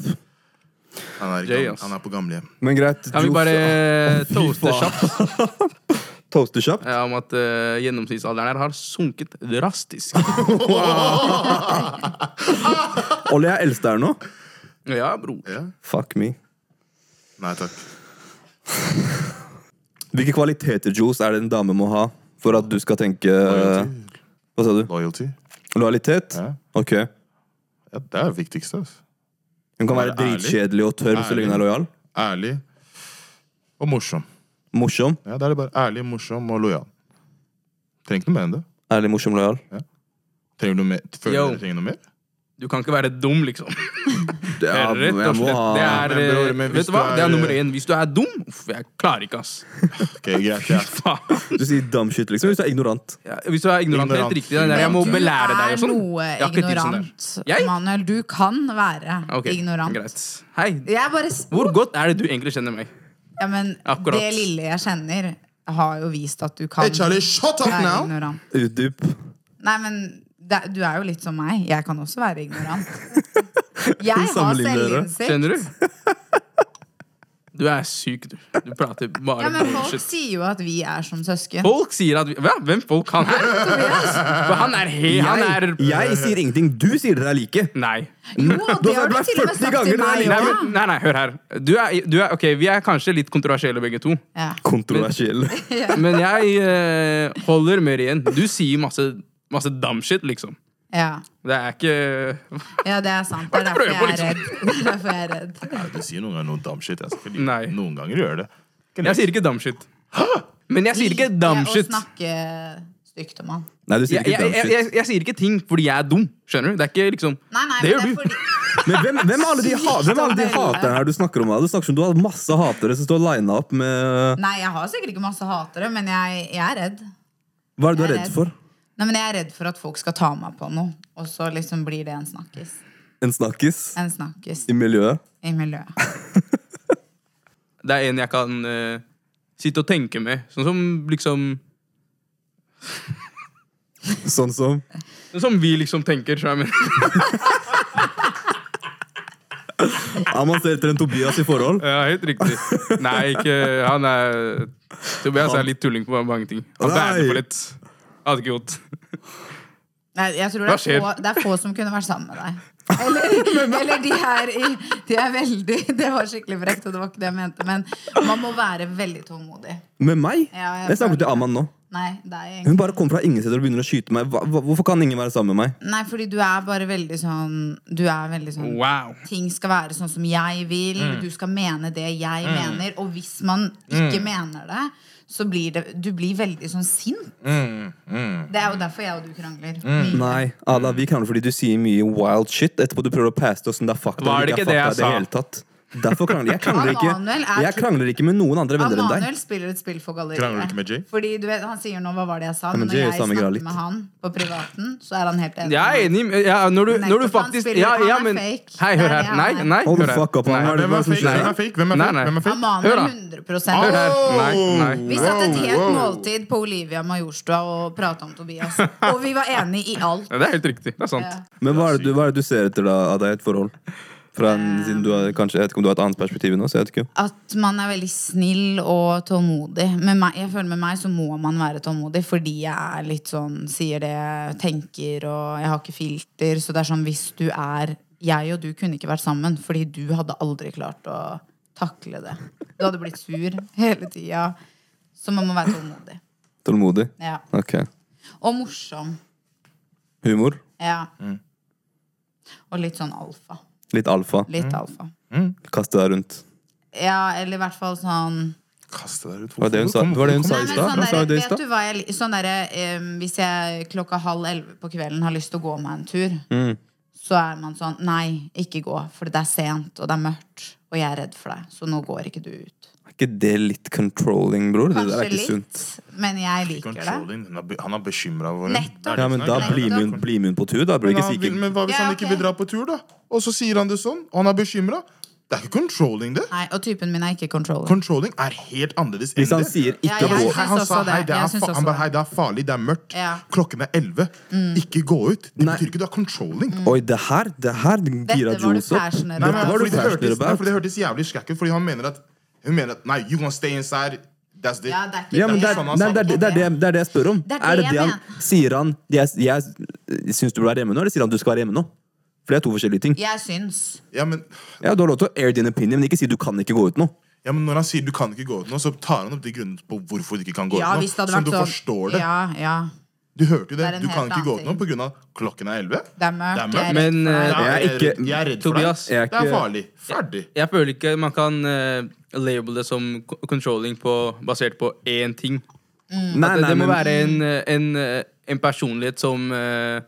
Speaker 3: Han er,
Speaker 2: Jay,
Speaker 3: ikke,
Speaker 2: ass.
Speaker 3: han er på gamlehjem.
Speaker 1: Men greit.
Speaker 2: Kan vi
Speaker 1: Jules-
Speaker 2: bare toaste
Speaker 1: faen.
Speaker 2: kjapt
Speaker 1: Toaster kjapt?
Speaker 2: eh, om at eh, gjennomsnittsalderen her har sunket drastisk?
Speaker 1: Ollie er eldst der nå.
Speaker 2: Ja, bro.
Speaker 3: Ja?
Speaker 1: Fuck me.
Speaker 3: Nei takk.
Speaker 1: Hvilke kvaliteter, Jules, er det en dame må ha for at du skal tenke
Speaker 2: Eh.
Speaker 1: Hva sa du?
Speaker 3: Loyalty.
Speaker 1: Lojalitet?
Speaker 3: Ja.
Speaker 1: Ok.
Speaker 3: Ja, det er det viktigste. ass.
Speaker 1: Hun kan være
Speaker 3: Være ærlig.
Speaker 1: dritkjedelig og tørr så
Speaker 3: Ærlig.
Speaker 1: lenge hun er lojal.
Speaker 3: Ærlig og morsom.
Speaker 1: Morsom.
Speaker 3: Ja, Da er det bare ærlig, morsom og lojal. Trenger ikke noe mer enn det.
Speaker 1: Ærlig, morsom, lojal.
Speaker 3: Trenger du noe mer? Føler
Speaker 2: Yo.
Speaker 3: dere trenger noe mer?
Speaker 2: Du kan ikke være dum, liksom.
Speaker 1: Det er,
Speaker 2: Rett og slett. Det er,
Speaker 3: men bror,
Speaker 2: eh,
Speaker 3: men hvis
Speaker 2: vet du hva?
Speaker 3: du er-
Speaker 2: Det er nummer én. Hvis du er dum, uff, jeg klarer ikke, ass.
Speaker 3: Ok, greit, ja.
Speaker 2: Faen.
Speaker 1: Du sier dumb shit, liksom. Hvis du er ignorant.
Speaker 2: Ja, hvis du er ignorant,
Speaker 3: Ignorant.
Speaker 2: helt riktig. det er der jeg må
Speaker 4: du
Speaker 2: belære deg og sånn. Jeg
Speaker 4: er
Speaker 2: har
Speaker 4: noe
Speaker 2: ikke tid som det.
Speaker 4: ignorant,
Speaker 2: Jeg?
Speaker 4: Manuel. Du kan være
Speaker 2: Ok,
Speaker 4: ignorant.
Speaker 2: Greit. Hei.
Speaker 4: Jeg bare s-
Speaker 2: Hvor godt er det du egentlig kjenner meg?
Speaker 4: ja, men
Speaker 2: Akkurat.
Speaker 4: Det lille jeg kjenner, har jo vist at du kan
Speaker 3: Hey, Charlie, shut up
Speaker 4: være
Speaker 3: now!
Speaker 4: ignorant.
Speaker 1: Utdyp.
Speaker 4: Nei, men det, du er jo litt som meg. Jeg kan også være ignorant. Jeg har
Speaker 1: Sammenligner dere?
Speaker 4: selvinnsikt.
Speaker 2: Skjønner du? Du er syk, du. Du prater bare
Speaker 4: Ja, men folk
Speaker 2: bullshit.
Speaker 4: sier jo at vi er som søsken.
Speaker 2: Folk sier at vi, Hva? Hvem folk han er? For han er he... Han er
Speaker 1: Jeg, jeg sier ingenting. Du sier dere er like.
Speaker 2: Nei.
Speaker 4: Jo,
Speaker 1: Du
Speaker 4: det
Speaker 1: har
Speaker 4: har du
Speaker 1: vært
Speaker 4: til og
Speaker 1: 40
Speaker 4: med sagt til
Speaker 1: ganger,
Speaker 4: meg
Speaker 1: det
Speaker 2: Nei,
Speaker 1: er
Speaker 4: òg.
Speaker 2: men, nei, nei, hør her. Du er, du er, ok, Vi er kanskje litt kontroversielle begge to.
Speaker 4: Ja.
Speaker 1: Kontroversiell.
Speaker 2: Men jeg eh, holder mer igjen. Du sier masse, masse dumshit, liksom.
Speaker 4: Ja.
Speaker 2: Det er ikke
Speaker 4: ja, det er sant.
Speaker 2: Hva er
Speaker 4: Det er
Speaker 2: det du
Speaker 4: derfor jeg er
Speaker 2: prøver liksom.
Speaker 4: redd. Det er derfor jeg er redd.
Speaker 3: Nei, du sier noen ganger noe dumb shit. Jeg skal ikke
Speaker 2: Nei.
Speaker 3: like. Noen ganger gjør det.
Speaker 2: Jeg sier ikke dumshit. Men jeg sier ikke
Speaker 4: Liker Å
Speaker 2: dumshit.
Speaker 4: snakke stygt om han.
Speaker 1: Nei, du sier
Speaker 2: Jeg,
Speaker 1: ikke
Speaker 2: jeg,
Speaker 1: dumb
Speaker 2: jeg, jeg,
Speaker 1: shit.
Speaker 2: jeg sier ikke ting fordi jeg er dum. Skjønner du? Det er ikke liksom
Speaker 4: Nei, nei,
Speaker 2: Det
Speaker 4: men
Speaker 2: gjør
Speaker 4: det er fordi
Speaker 1: Men hvem, hvem er alle de, ha, hvem er alle de haterne her du snakker om? da? Du snakker som du har masse hatere som står lina opp med
Speaker 4: Nei, jeg har sikkert ikke masse hatere, men jeg, jeg er redd.
Speaker 1: Hva er det du er
Speaker 4: Jeg er
Speaker 1: redd
Speaker 4: redd.
Speaker 1: for?
Speaker 4: Nei, men Jeg er redd for at folk skal ta meg på noe, og så liksom blir det en snakkis.
Speaker 1: En snakkis
Speaker 4: En snakkis
Speaker 1: i miljøet?
Speaker 4: i miljøet.
Speaker 2: Det er en jeg kan eh, sitte og tenke med. Sånn som liksom
Speaker 1: Sånn som
Speaker 2: Sånn som vi liksom tenker. skjønner du hva jeg mener?
Speaker 1: Ja, man ser etter en Tobias i forhold.
Speaker 2: Ja, helt riktig. Nei, ikke Han er Tobias er litt tulling på mange ting. Han
Speaker 1: Nei.
Speaker 2: bærer på litt. Hadde ikke gjort.
Speaker 4: Nei, jeg tror det
Speaker 2: Hva skjer?
Speaker 4: er, få, det er få som kunne vært sammen med deg. Eller, eller de her i De er veldig Det var skikkelig frekt, og det var ikke det jeg mente. Men man må være veldig tålmodig.
Speaker 1: Med meg?
Speaker 4: Ja, jeg
Speaker 1: jeg snakker til
Speaker 4: føler-
Speaker 1: Aman nå.
Speaker 4: Nei, deg,
Speaker 1: Hun
Speaker 4: egentlig.
Speaker 1: bare kommer fra ingen steder og begynner å skyte meg. Hva, hva, hvorfor kan ingen være sammen med meg?
Speaker 4: Nei, fordi du er bare veldig sånn Du er veldig sånn
Speaker 2: Wow. Mm.
Speaker 4: Ting skal være sånn som jeg vil, du skal mene det jeg mener. Og hvis man ikke
Speaker 2: Mm.
Speaker 4: mener det, så blir det Du blir veldig sånn sint.
Speaker 2: Mm,
Speaker 4: Det er jo derfor jeg og du krangler. Mye.
Speaker 1: Nei, Ada, vi krangler fordi du sier mye wild shit etterpå du prøver å passe det og sånn det er fakta.
Speaker 2: Var det
Speaker 1: er
Speaker 2: ikke det
Speaker 1: fakta i
Speaker 2: jeg
Speaker 1: hele tatt. Derfor krangler jeg. Krangler
Speaker 4: Emanuel
Speaker 1: ikke,
Speaker 4: er
Speaker 1: jeg krangler ikke med noen andre venner enn deg.
Speaker 4: Emanuel spiller et spill for galleriet.
Speaker 3: Krangler du ikke med Jay?
Speaker 4: Fordi du vet, Han sier nå 'hva var det jeg sa',
Speaker 1: Ja,
Speaker 4: men
Speaker 1: men
Speaker 4: når
Speaker 1: Jay er
Speaker 4: jeg
Speaker 1: samme
Speaker 4: snakker
Speaker 1: grad likt.
Speaker 4: med han på privaten, så er han helt enig.
Speaker 2: Jeg er enig. med- Ja, når, du, når du
Speaker 4: Nettopp, han
Speaker 2: faktisk
Speaker 4: spiller-
Speaker 2: ja, ja,
Speaker 4: han er
Speaker 2: men,
Speaker 4: fake.
Speaker 2: Hei,
Speaker 4: Det
Speaker 2: hør
Speaker 4: er
Speaker 2: her.
Speaker 4: det han
Speaker 2: Nei,
Speaker 4: er.
Speaker 2: nei.
Speaker 1: Hold
Speaker 2: hør
Speaker 1: the
Speaker 2: her.
Speaker 1: fuck up,
Speaker 2: Nei.
Speaker 1: Aman. Hva er det
Speaker 3: Hvem er
Speaker 1: som
Speaker 3: fake?
Speaker 1: skjer?
Speaker 3: Hvem er fake? Hvem er
Speaker 2: Nei,
Speaker 3: fake?
Speaker 2: nei.
Speaker 3: Hvem er fake?
Speaker 4: Emanuel
Speaker 2: Hør da.
Speaker 4: 100
Speaker 2: Hør her. Nei, nei.
Speaker 4: Vi satt et helt
Speaker 3: Wow, wow.
Speaker 4: måltid på Olivia Majorstua og prata om Tobias. Og vi var enige i alt.
Speaker 2: Ja, det er helt riktig. Det er sant.
Speaker 4: Ja.
Speaker 1: Men hva er, det du, hva er det du ser etter da, Ada, i et forhold? Fra en,
Speaker 4: Ehm.
Speaker 1: siden du har, kanskje, jeg vet ikke om du har et annet perspektiv nå, så jeg vet ikke.
Speaker 4: At man er veldig snill og tålmodig. Med meg, jeg føler med meg så må man være tålmodig, fordi jeg er litt sånn sier det jeg tenker, og jeg har ikke filter. Så det er sånn hvis du er Jeg og du kunne ikke vært sammen, fordi du hadde aldri klart å takle det. Du hadde blitt sur hele tida. Så man må være tålmodig.
Speaker 1: Tålmodig?
Speaker 4: Ja.
Speaker 1: Ok.
Speaker 4: Og morsom.
Speaker 1: Humor?
Speaker 4: Ja. Og litt sånn alfa.
Speaker 1: Litt alfa?
Speaker 4: Litt alfa.
Speaker 1: Kaste deg rundt?
Speaker 4: Ja, eller i hvert fall sånn
Speaker 3: Kaste deg ut.
Speaker 1: Var det hun sa- var det hun sa
Speaker 4: Nei,
Speaker 1: i
Speaker 4: men
Speaker 1: stad?
Speaker 4: sånn
Speaker 1: Hva sa
Speaker 4: derre-
Speaker 1: du i
Speaker 4: Vet
Speaker 1: stad?
Speaker 4: du hva jeg li- Sånn derre em, Hvis jeg klokka halv elleve på kvelden har lyst til å gå meg en tur,
Speaker 1: Mm.
Speaker 4: så er man sånn Nei, ikke gå, for det er sent, og det er mørkt, og jeg er redd for deg, så nå går ikke du ut.
Speaker 1: Er ikke det litt controlling, bror? Det der
Speaker 4: Kanskje
Speaker 1: er ikke
Speaker 4: litt,
Speaker 1: sunt.
Speaker 4: men jeg liker det.
Speaker 3: Controlling. Han er be- Han er bekymra over henne.
Speaker 4: Nettopp.
Speaker 3: Det er det
Speaker 1: Ja, men
Speaker 3: som er
Speaker 1: da
Speaker 3: greia.
Speaker 1: blir med hun- blir med hun på tur, da. Bør du
Speaker 3: Men
Speaker 1: ikke
Speaker 3: han
Speaker 1: si
Speaker 3: vil-
Speaker 1: ikke
Speaker 3: Men hva hvis
Speaker 4: Ja,
Speaker 3: han ikke
Speaker 4: ok.
Speaker 3: vil dra på tur, da? Og så sier han det sånn, og han er bekymra. Det er ikke controlling, det.
Speaker 4: Nei, og typen min er ikke controller.
Speaker 3: Controlling er helt annerledes enn
Speaker 1: Hvis han
Speaker 3: det.
Speaker 1: sier
Speaker 4: Ja,
Speaker 1: ikke
Speaker 4: jeg
Speaker 1: gå
Speaker 4: synes
Speaker 3: Hei, han
Speaker 4: også
Speaker 3: sa
Speaker 4: det.
Speaker 3: hei, det er,
Speaker 4: Jeg synes
Speaker 3: fa
Speaker 4: også
Speaker 3: han bare,
Speaker 4: det.
Speaker 3: hei, det er farlig, det er mørkt.
Speaker 4: Ja. Mm.
Speaker 3: Klokken er 11. Ikke gå ut. Det
Speaker 1: Nei.
Speaker 3: betyr ikke du er controlling.
Speaker 1: Oi, det her det her gira
Speaker 4: Dette var du
Speaker 1: Jules opp.
Speaker 4: passionate
Speaker 3: Nei, men,
Speaker 1: Hva er
Speaker 3: fordi
Speaker 1: du
Speaker 3: det, hørtes,
Speaker 1: passionate
Speaker 3: nei, fordi
Speaker 1: about?
Speaker 3: det hørtes jævlig skrekk ut, fordi han mener at Hun mener at Nei, you gonna stay inside. That's it.
Speaker 4: Ja, det er ikke
Speaker 1: Ja, men det, er-
Speaker 3: sånn han
Speaker 1: nei,
Speaker 3: sa
Speaker 1: det, er-
Speaker 4: det.
Speaker 1: det, er det, det er det jeg spør om.
Speaker 4: Det er det
Speaker 1: er det
Speaker 4: jeg
Speaker 1: det han
Speaker 4: mener.
Speaker 1: Sier han jeg, jeg syns du burde være hjemme nå, eller sier han du skal være hjemme nå? For det er to forskjellige ting.
Speaker 4: Jeg syns.
Speaker 3: Ja, men,
Speaker 1: Ja, Du har lov til å air din opinion, men ikke si du kan ikke gå ut nå.
Speaker 4: Mm.
Speaker 3: ja, men når han sier du kan ikke gå ut nå, så tar han opp de grunnene på hvorfor du ikke kan gå
Speaker 4: Ja,
Speaker 3: ut nå.
Speaker 4: hvis det hadde
Speaker 3: Som
Speaker 4: vært
Speaker 3: du
Speaker 4: sånn
Speaker 3: forstår det.
Speaker 4: Ja, ja.
Speaker 3: Du hørte jo det.
Speaker 4: Det er en
Speaker 3: Du kan
Speaker 4: helt
Speaker 3: ikke gå ut
Speaker 4: annen
Speaker 3: nå pga. klokken er 11.
Speaker 4: Det er mørkt.
Speaker 3: Det er
Speaker 4: jeg er
Speaker 2: Men,
Speaker 4: redd
Speaker 2: eh,
Speaker 3: Ja,
Speaker 4: for deg.
Speaker 1: Jeg er
Speaker 3: jeg, er
Speaker 1: ikke-
Speaker 3: redd- jeg er redd for
Speaker 2: Tobias,
Speaker 1: jeg er
Speaker 3: deg. Det er
Speaker 1: ikke-
Speaker 3: farlig. Ferdig.
Speaker 2: Jeg føler ikke man kan eh, label det som co- controlling på, basert på én ting.
Speaker 1: Nei,
Speaker 2: At det,
Speaker 1: nei,
Speaker 2: det
Speaker 1: men-
Speaker 2: må være en, eh, en, eh, en personlighet som eh,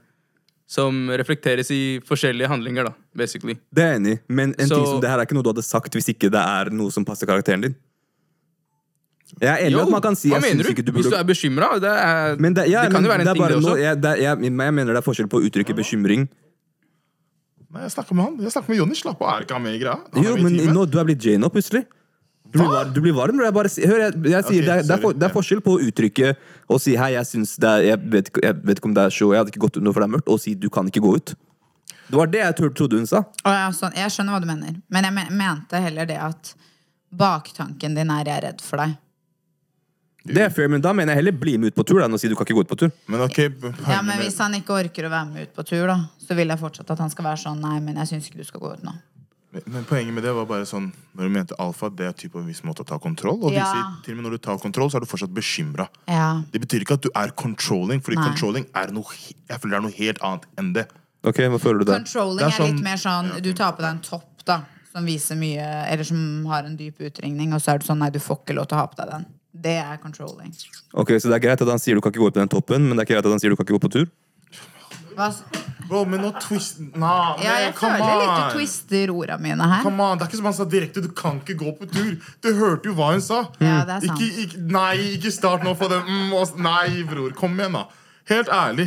Speaker 2: som reflekteres i forskjellige handlinger, da, basically.
Speaker 1: Det er jeg enig i, men en ting
Speaker 2: Så-
Speaker 1: som det her er ikke noe du hadde sagt hvis ikke det er noe som passer karakteren din. Jeg er enig i at man kan si
Speaker 2: hva
Speaker 1: jeg
Speaker 2: mener
Speaker 1: synes
Speaker 2: du?
Speaker 1: ikke du
Speaker 2: Hvis du
Speaker 1: burde
Speaker 2: er bekymra, det, er-
Speaker 1: men det, ja,
Speaker 2: det kan
Speaker 1: men
Speaker 2: jo være en
Speaker 1: det er
Speaker 2: ting,
Speaker 1: bare
Speaker 2: det også.
Speaker 1: noe- jeg, det, er- jeg, jeg mener det er forskjell på å uttrykke bekymring
Speaker 3: Nei, jeg snakker med han. Jeg snakker med Jonny. Slapp av. Er ikke han med i greia? Han er
Speaker 1: Jo,
Speaker 3: med i
Speaker 1: men
Speaker 3: teamet.
Speaker 1: nå, du er blitt Jane nå, plutselig. Du blir, var, du blir varm. Jeg bare, si- hør, jeg, jeg sier,
Speaker 3: Ok,
Speaker 1: det, er, det, er for,
Speaker 3: sorry.
Speaker 1: det er forskjell på å uttrykke og si hei, jeg, syns det er, jeg, vet, ikke- jeg vet ikke om det er show, jeg hadde ikke gått ut nå for det er mørkt, og si du kan ikke gå ut. Det var det jeg tro- trodde hun sa.
Speaker 4: Å, ja, sånn. Jeg skjønner hva du mener, men jeg me- mente heller det at baktanken din er 'jeg er redd for deg'.
Speaker 1: Det er fair, men da mener jeg heller bli med ut på tur da, enn å si du kan ikke gå ut på tur.
Speaker 3: Men ok,
Speaker 4: Ja,
Speaker 3: poenget
Speaker 4: Men
Speaker 3: med-
Speaker 4: hvis han ikke orker å være med ut på tur, da, så vil jeg fortsatt at han skal være sånn 'nei, men jeg syns ikke du skal gå ut nå'.
Speaker 3: Men- Men poenget med det var bare sånn Når du mente alfa, det er typ en viss måte å ta kontroll. Og de
Speaker 4: Ja.
Speaker 3: sier, til og med når du tar kontroll, så er du fortsatt bekymra.
Speaker 4: Ja.
Speaker 3: Det betyr ikke at du er controlling, fordi
Speaker 4: Nei.
Speaker 3: controlling er noe, he- jeg føler det er noe helt annet enn det.
Speaker 1: Ok, hva føler du der?
Speaker 4: Controlling
Speaker 3: Det
Speaker 4: er,
Speaker 3: er sånn-
Speaker 4: litt mer sånn du tar på deg en topp da som viser mye, eller som har en dyp utringning, og så er det sånn 'nei, du får ikke lov til å ha på deg den'. Det er controlling.
Speaker 1: Ok, Så det er greit at han sier du kan ikke gå ut på den toppen, men det er ikke greit at han sier du kan ikke gå på tur?
Speaker 4: Hva, s-
Speaker 3: Bro, men nå twist nah,
Speaker 4: ja, jeg føler litt du twister orda mine her.
Speaker 3: Come on, Det er ikke som han sa direkte. Du kan ikke gå på tur. Du hørte jo hva hun sa.
Speaker 4: Ja, det er sant.
Speaker 3: Ikke, ikke, nei, ikke start nå for det. Mm, og, s- nei, bror. Kom igjen, da. Helt ærlig.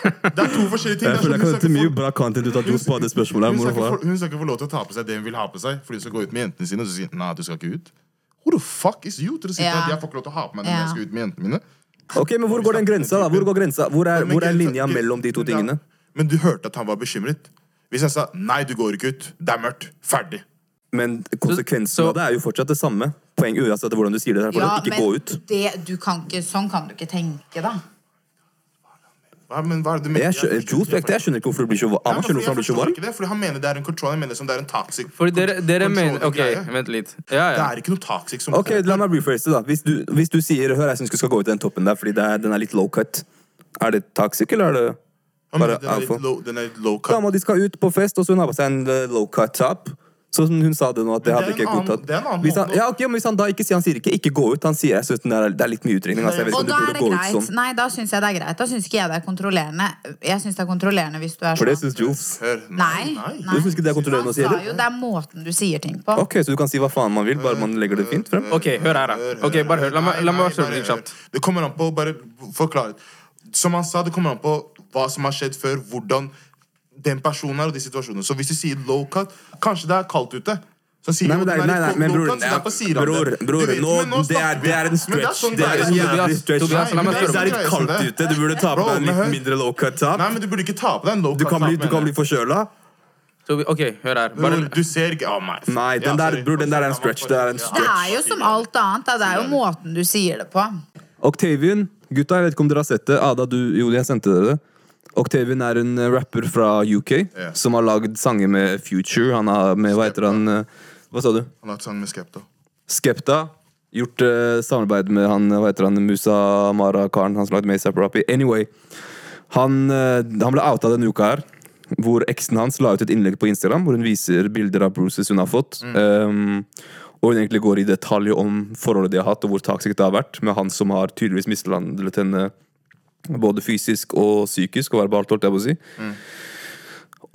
Speaker 3: Det er to forskjellige ting. Det
Speaker 1: Jeg
Speaker 3: er sånn,
Speaker 1: føler jeg kan
Speaker 3: hun
Speaker 1: hente
Speaker 3: snakker
Speaker 1: mye
Speaker 3: for-
Speaker 1: bra content ut av Johs på det spørsmålet. her,
Speaker 3: Hun
Speaker 1: mor
Speaker 3: skal,
Speaker 1: og
Speaker 3: ikke
Speaker 1: far.
Speaker 3: få, hun skal ikke få lov til å ta på seg det hun vil ha på seg. Fordi hun skal gå ut med jentene sine og så sier hun, nei, du skal ikke ut. Who the fuck is you? Til å si at
Speaker 4: Ja.
Speaker 3: jeg får ikke lov til å ha på meg det
Speaker 4: Ja.
Speaker 3: når jeg skal ut med jentene mine.
Speaker 1: Ok, men Hvor går den grensa, da? Hvor, går grensa? Hvor, er,
Speaker 3: Men
Speaker 1: Eh, hvor er
Speaker 3: grensa-
Speaker 1: linja
Speaker 3: gre-
Speaker 1: mellom de to tingene?
Speaker 3: Ja. Men du hørte at han var bekymret. Hvis jeg sa nei, du går ikke ut, det er mørkt, ferdig.
Speaker 1: Men konsekvensen
Speaker 2: Så-
Speaker 1: av det er jo fortsatt det samme. Poeng uansett hvordan du sier det. Det er for
Speaker 4: Ja,
Speaker 1: at ikke gå
Speaker 4: men
Speaker 1: ut.
Speaker 4: det, du kan ikke, sånn kan du ikke tenke, da.
Speaker 3: Hva, men hva er det du
Speaker 1: Jeg,
Speaker 3: mener?
Speaker 1: skjø- Jules, på ekte, jeg skjønner ikke hvorfor du blir så varm.
Speaker 3: Nei,
Speaker 1: Han
Speaker 3: men
Speaker 1: skjønner
Speaker 3: fordi
Speaker 1: hvorfor han
Speaker 3: jeg
Speaker 1: blir så
Speaker 3: forstår
Speaker 1: varm.
Speaker 3: ikke det, fordi han mener det er en control, han mener som det er en toxic.
Speaker 2: Fordi dere, dere
Speaker 3: Kontroll-
Speaker 2: mener Ok,
Speaker 3: greie.
Speaker 2: vent litt. Ja,
Speaker 3: Det
Speaker 2: ja.
Speaker 3: er ikke noe toxic som
Speaker 1: Ok, La meg rephrase det, da. Hvis du, hvis du sier Hør, jeg syns du skal gå ut den toppen der fordi det er, den er litt low cut. Er det toxic, eller er det
Speaker 3: Han mener
Speaker 1: bare
Speaker 3: den er litt
Speaker 1: alfa?
Speaker 3: low- Den er litt low cut.
Speaker 1: Dama di skal ut på fest, og så hun har på seg en eh, low cut top. Sånn som hun sa det nå, at det
Speaker 3: Men det
Speaker 1: hadde
Speaker 3: er en
Speaker 1: ikke
Speaker 3: annen-
Speaker 1: godtatt.
Speaker 3: det er en annen
Speaker 1: Hvis han,
Speaker 3: måte å-
Speaker 1: ja, ok, men hvis han da ikke sier han sier ikke 'ikke gå ut', han sier jeg synes den er, det er litt mye utringning. Altså, jeg vet ikke
Speaker 4: Og
Speaker 1: om du
Speaker 4: da er
Speaker 1: burde
Speaker 4: det
Speaker 1: gå
Speaker 4: greit.
Speaker 1: ut sånn.
Speaker 4: Nei, da syns jeg det er greit. Da syns ikke jeg det er kontrollerende. Jeg syns det er kontrollerende hvis du er
Speaker 1: For det
Speaker 4: sånn.
Speaker 1: syns Jules.
Speaker 3: Hør,
Speaker 4: Nei.
Speaker 1: Du syns ikke det er kontrollerende
Speaker 4: Han
Speaker 1: å si
Speaker 4: sa
Speaker 1: heller?
Speaker 4: jo det er måten du sier ting på.
Speaker 1: Ok, så du kan si hva faen man vil, bare man legger det fint frem?
Speaker 2: Ok, hør her, da.
Speaker 3: Hør,
Speaker 2: Ok, bare hør. La meg,
Speaker 3: Nei,
Speaker 2: la meg
Speaker 3: nei,
Speaker 2: bare spørre
Speaker 3: bare
Speaker 2: litt kjapt.
Speaker 3: hør. Det kommer an på Bare forklar. Som han sa, det kommer an på hva som har skjedd før, hvordan den personen er, og de situasjonene. Så hvis du sier low cut, kanskje det er kaldt ute. Så sier
Speaker 1: Nei,
Speaker 3: vi
Speaker 1: men,
Speaker 3: jo,
Speaker 1: det er,
Speaker 3: den
Speaker 1: nei, nei,
Speaker 3: litt
Speaker 1: men
Speaker 3: low
Speaker 1: bror,
Speaker 3: cut, så derfor sier han
Speaker 1: bror,
Speaker 3: det. Du
Speaker 1: bror
Speaker 3: vet,
Speaker 1: nå,
Speaker 3: men nå
Speaker 1: det, er,
Speaker 3: snakker vi.
Speaker 1: det er en
Speaker 3: Men det er
Speaker 1: stretch.
Speaker 3: sånn
Speaker 1: Det er en
Speaker 3: det er.
Speaker 1: jævlig stretch.
Speaker 2: Tobias, la meg
Speaker 1: Det er
Speaker 2: spørre om-
Speaker 1: litt kaldt ute. Du burde ta på
Speaker 3: Bro,
Speaker 1: deg en litt
Speaker 3: men hør.
Speaker 1: mindre low cut
Speaker 3: Nei,
Speaker 1: top.
Speaker 3: men du burde ikke ta på deg en low
Speaker 1: Du
Speaker 3: cut.
Speaker 1: kan bli,
Speaker 3: da,
Speaker 1: du kan bli
Speaker 3: mener jeg.
Speaker 1: forkjøla.
Speaker 2: Så vi- Ok, hør her. Bare,
Speaker 3: Bror, Du ser ikke Å, nei.
Speaker 1: Nei, den der- bror, den der er en stretch. Det er en
Speaker 4: Det
Speaker 1: stretch.
Speaker 4: er jo som alt annet. Da. Det er jo
Speaker 1: Mm.
Speaker 4: måten du sier det på.
Speaker 1: Octavian, gutta, jeg vet ikke om dere har sett det. Ada, du, jo, jeg sendte dere det. Octavian er en eh, rapper fra UK
Speaker 3: Ja.
Speaker 1: som har lagd sanger med Future. Han har med, hva heter han eh, Hva sa du?
Speaker 3: Han har hatt sang med Skepta.
Speaker 1: Skepta. Gjort eh, samarbeid med han, eh, hva heter han, Musa Mara-karen han som lagde Mesa Rappi. Anyway, han, eh, han ble outa denne uka her. Hvor eksen hans la ut et innlegg på Instagram hvor hun viser bilder av bruises hun har fått. Um, og hun egentlig går i detalj om forholdet de har hatt, og hvor toxic det har vært. Med han som har tydeligvis mishandlet henne både fysisk og psykisk og verbalt, holdt jeg på å si.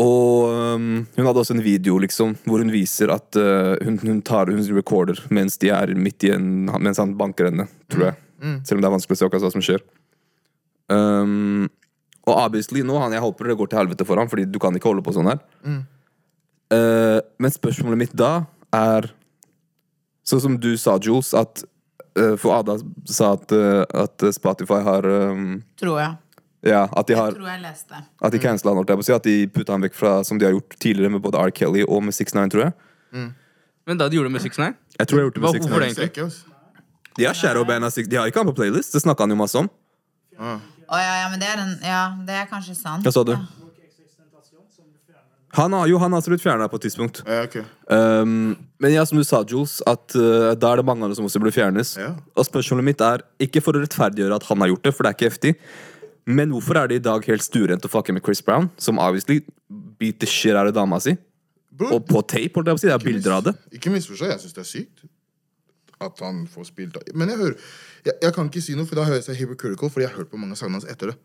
Speaker 1: Og øhm, hun hadde også en video liksom hvor hun viser at øh, hun, hun tar hun recorder mens de er midt i en han- Mens han banker henne, tror jeg. Selv om det er vanskelig å se akkurat hva som skjer. Øhm, og obviously nå, han, jeg håper det går til helvete for ham, Fordi du kan ikke holde på sånn her. Eh, men spørsmålet mitt da er Sånn som du sa, Jules, at eh, For Ada sa at, eh, at Spotify har øhm,
Speaker 4: Tror jeg.
Speaker 1: Ja, at de har
Speaker 4: Tror jeg leste.
Speaker 1: at de cancela han, holdt jeg på å si. At de putta han vekk fra som de har gjort tidligere med både R. Kelly og med 69, tror jeg.
Speaker 2: men da de gjorde det med 6ix9ine?
Speaker 1: Jeg tror jeg har gjort det
Speaker 2: Hva-
Speaker 1: med
Speaker 2: hvorfor
Speaker 1: 69.
Speaker 2: det?
Speaker 3: Ser ikke oss.
Speaker 1: De har shadowbanda Six- De har ikke han på playlist, det snakka han jo masse om.
Speaker 4: Å ja, ja, men det er, en, ja, det er kanskje sant.
Speaker 1: Hva sa du?
Speaker 5: Eksistentasjon som du fjerner.
Speaker 1: Han har jo han har absolutt fjerna på et tidspunkt.
Speaker 3: Ja, ok.
Speaker 1: Um, men ja, som du sa, Jules, at uh, da er det mange andre som også burde fjernes.
Speaker 3: Ja.
Speaker 1: Og spørsmålet mitt er, ikke for å rettferdiggjøre at han har gjort det, for det er ikke heftig, men hvorfor er det i dag helt stuerent å fucke med Chris Brown, som obviously beat the shit out of dama si?
Speaker 3: Bror,
Speaker 1: Og på tape, holdt jeg på å si. Det er bilder av det.
Speaker 3: Ikke misforstå, jeg syns det er sykt at han får spilt Men jeg hører jeg, jeg kan ikke si noe, for da høres jeg hypocritical, fordi jeg har hørt på mange av sangene hans etter det.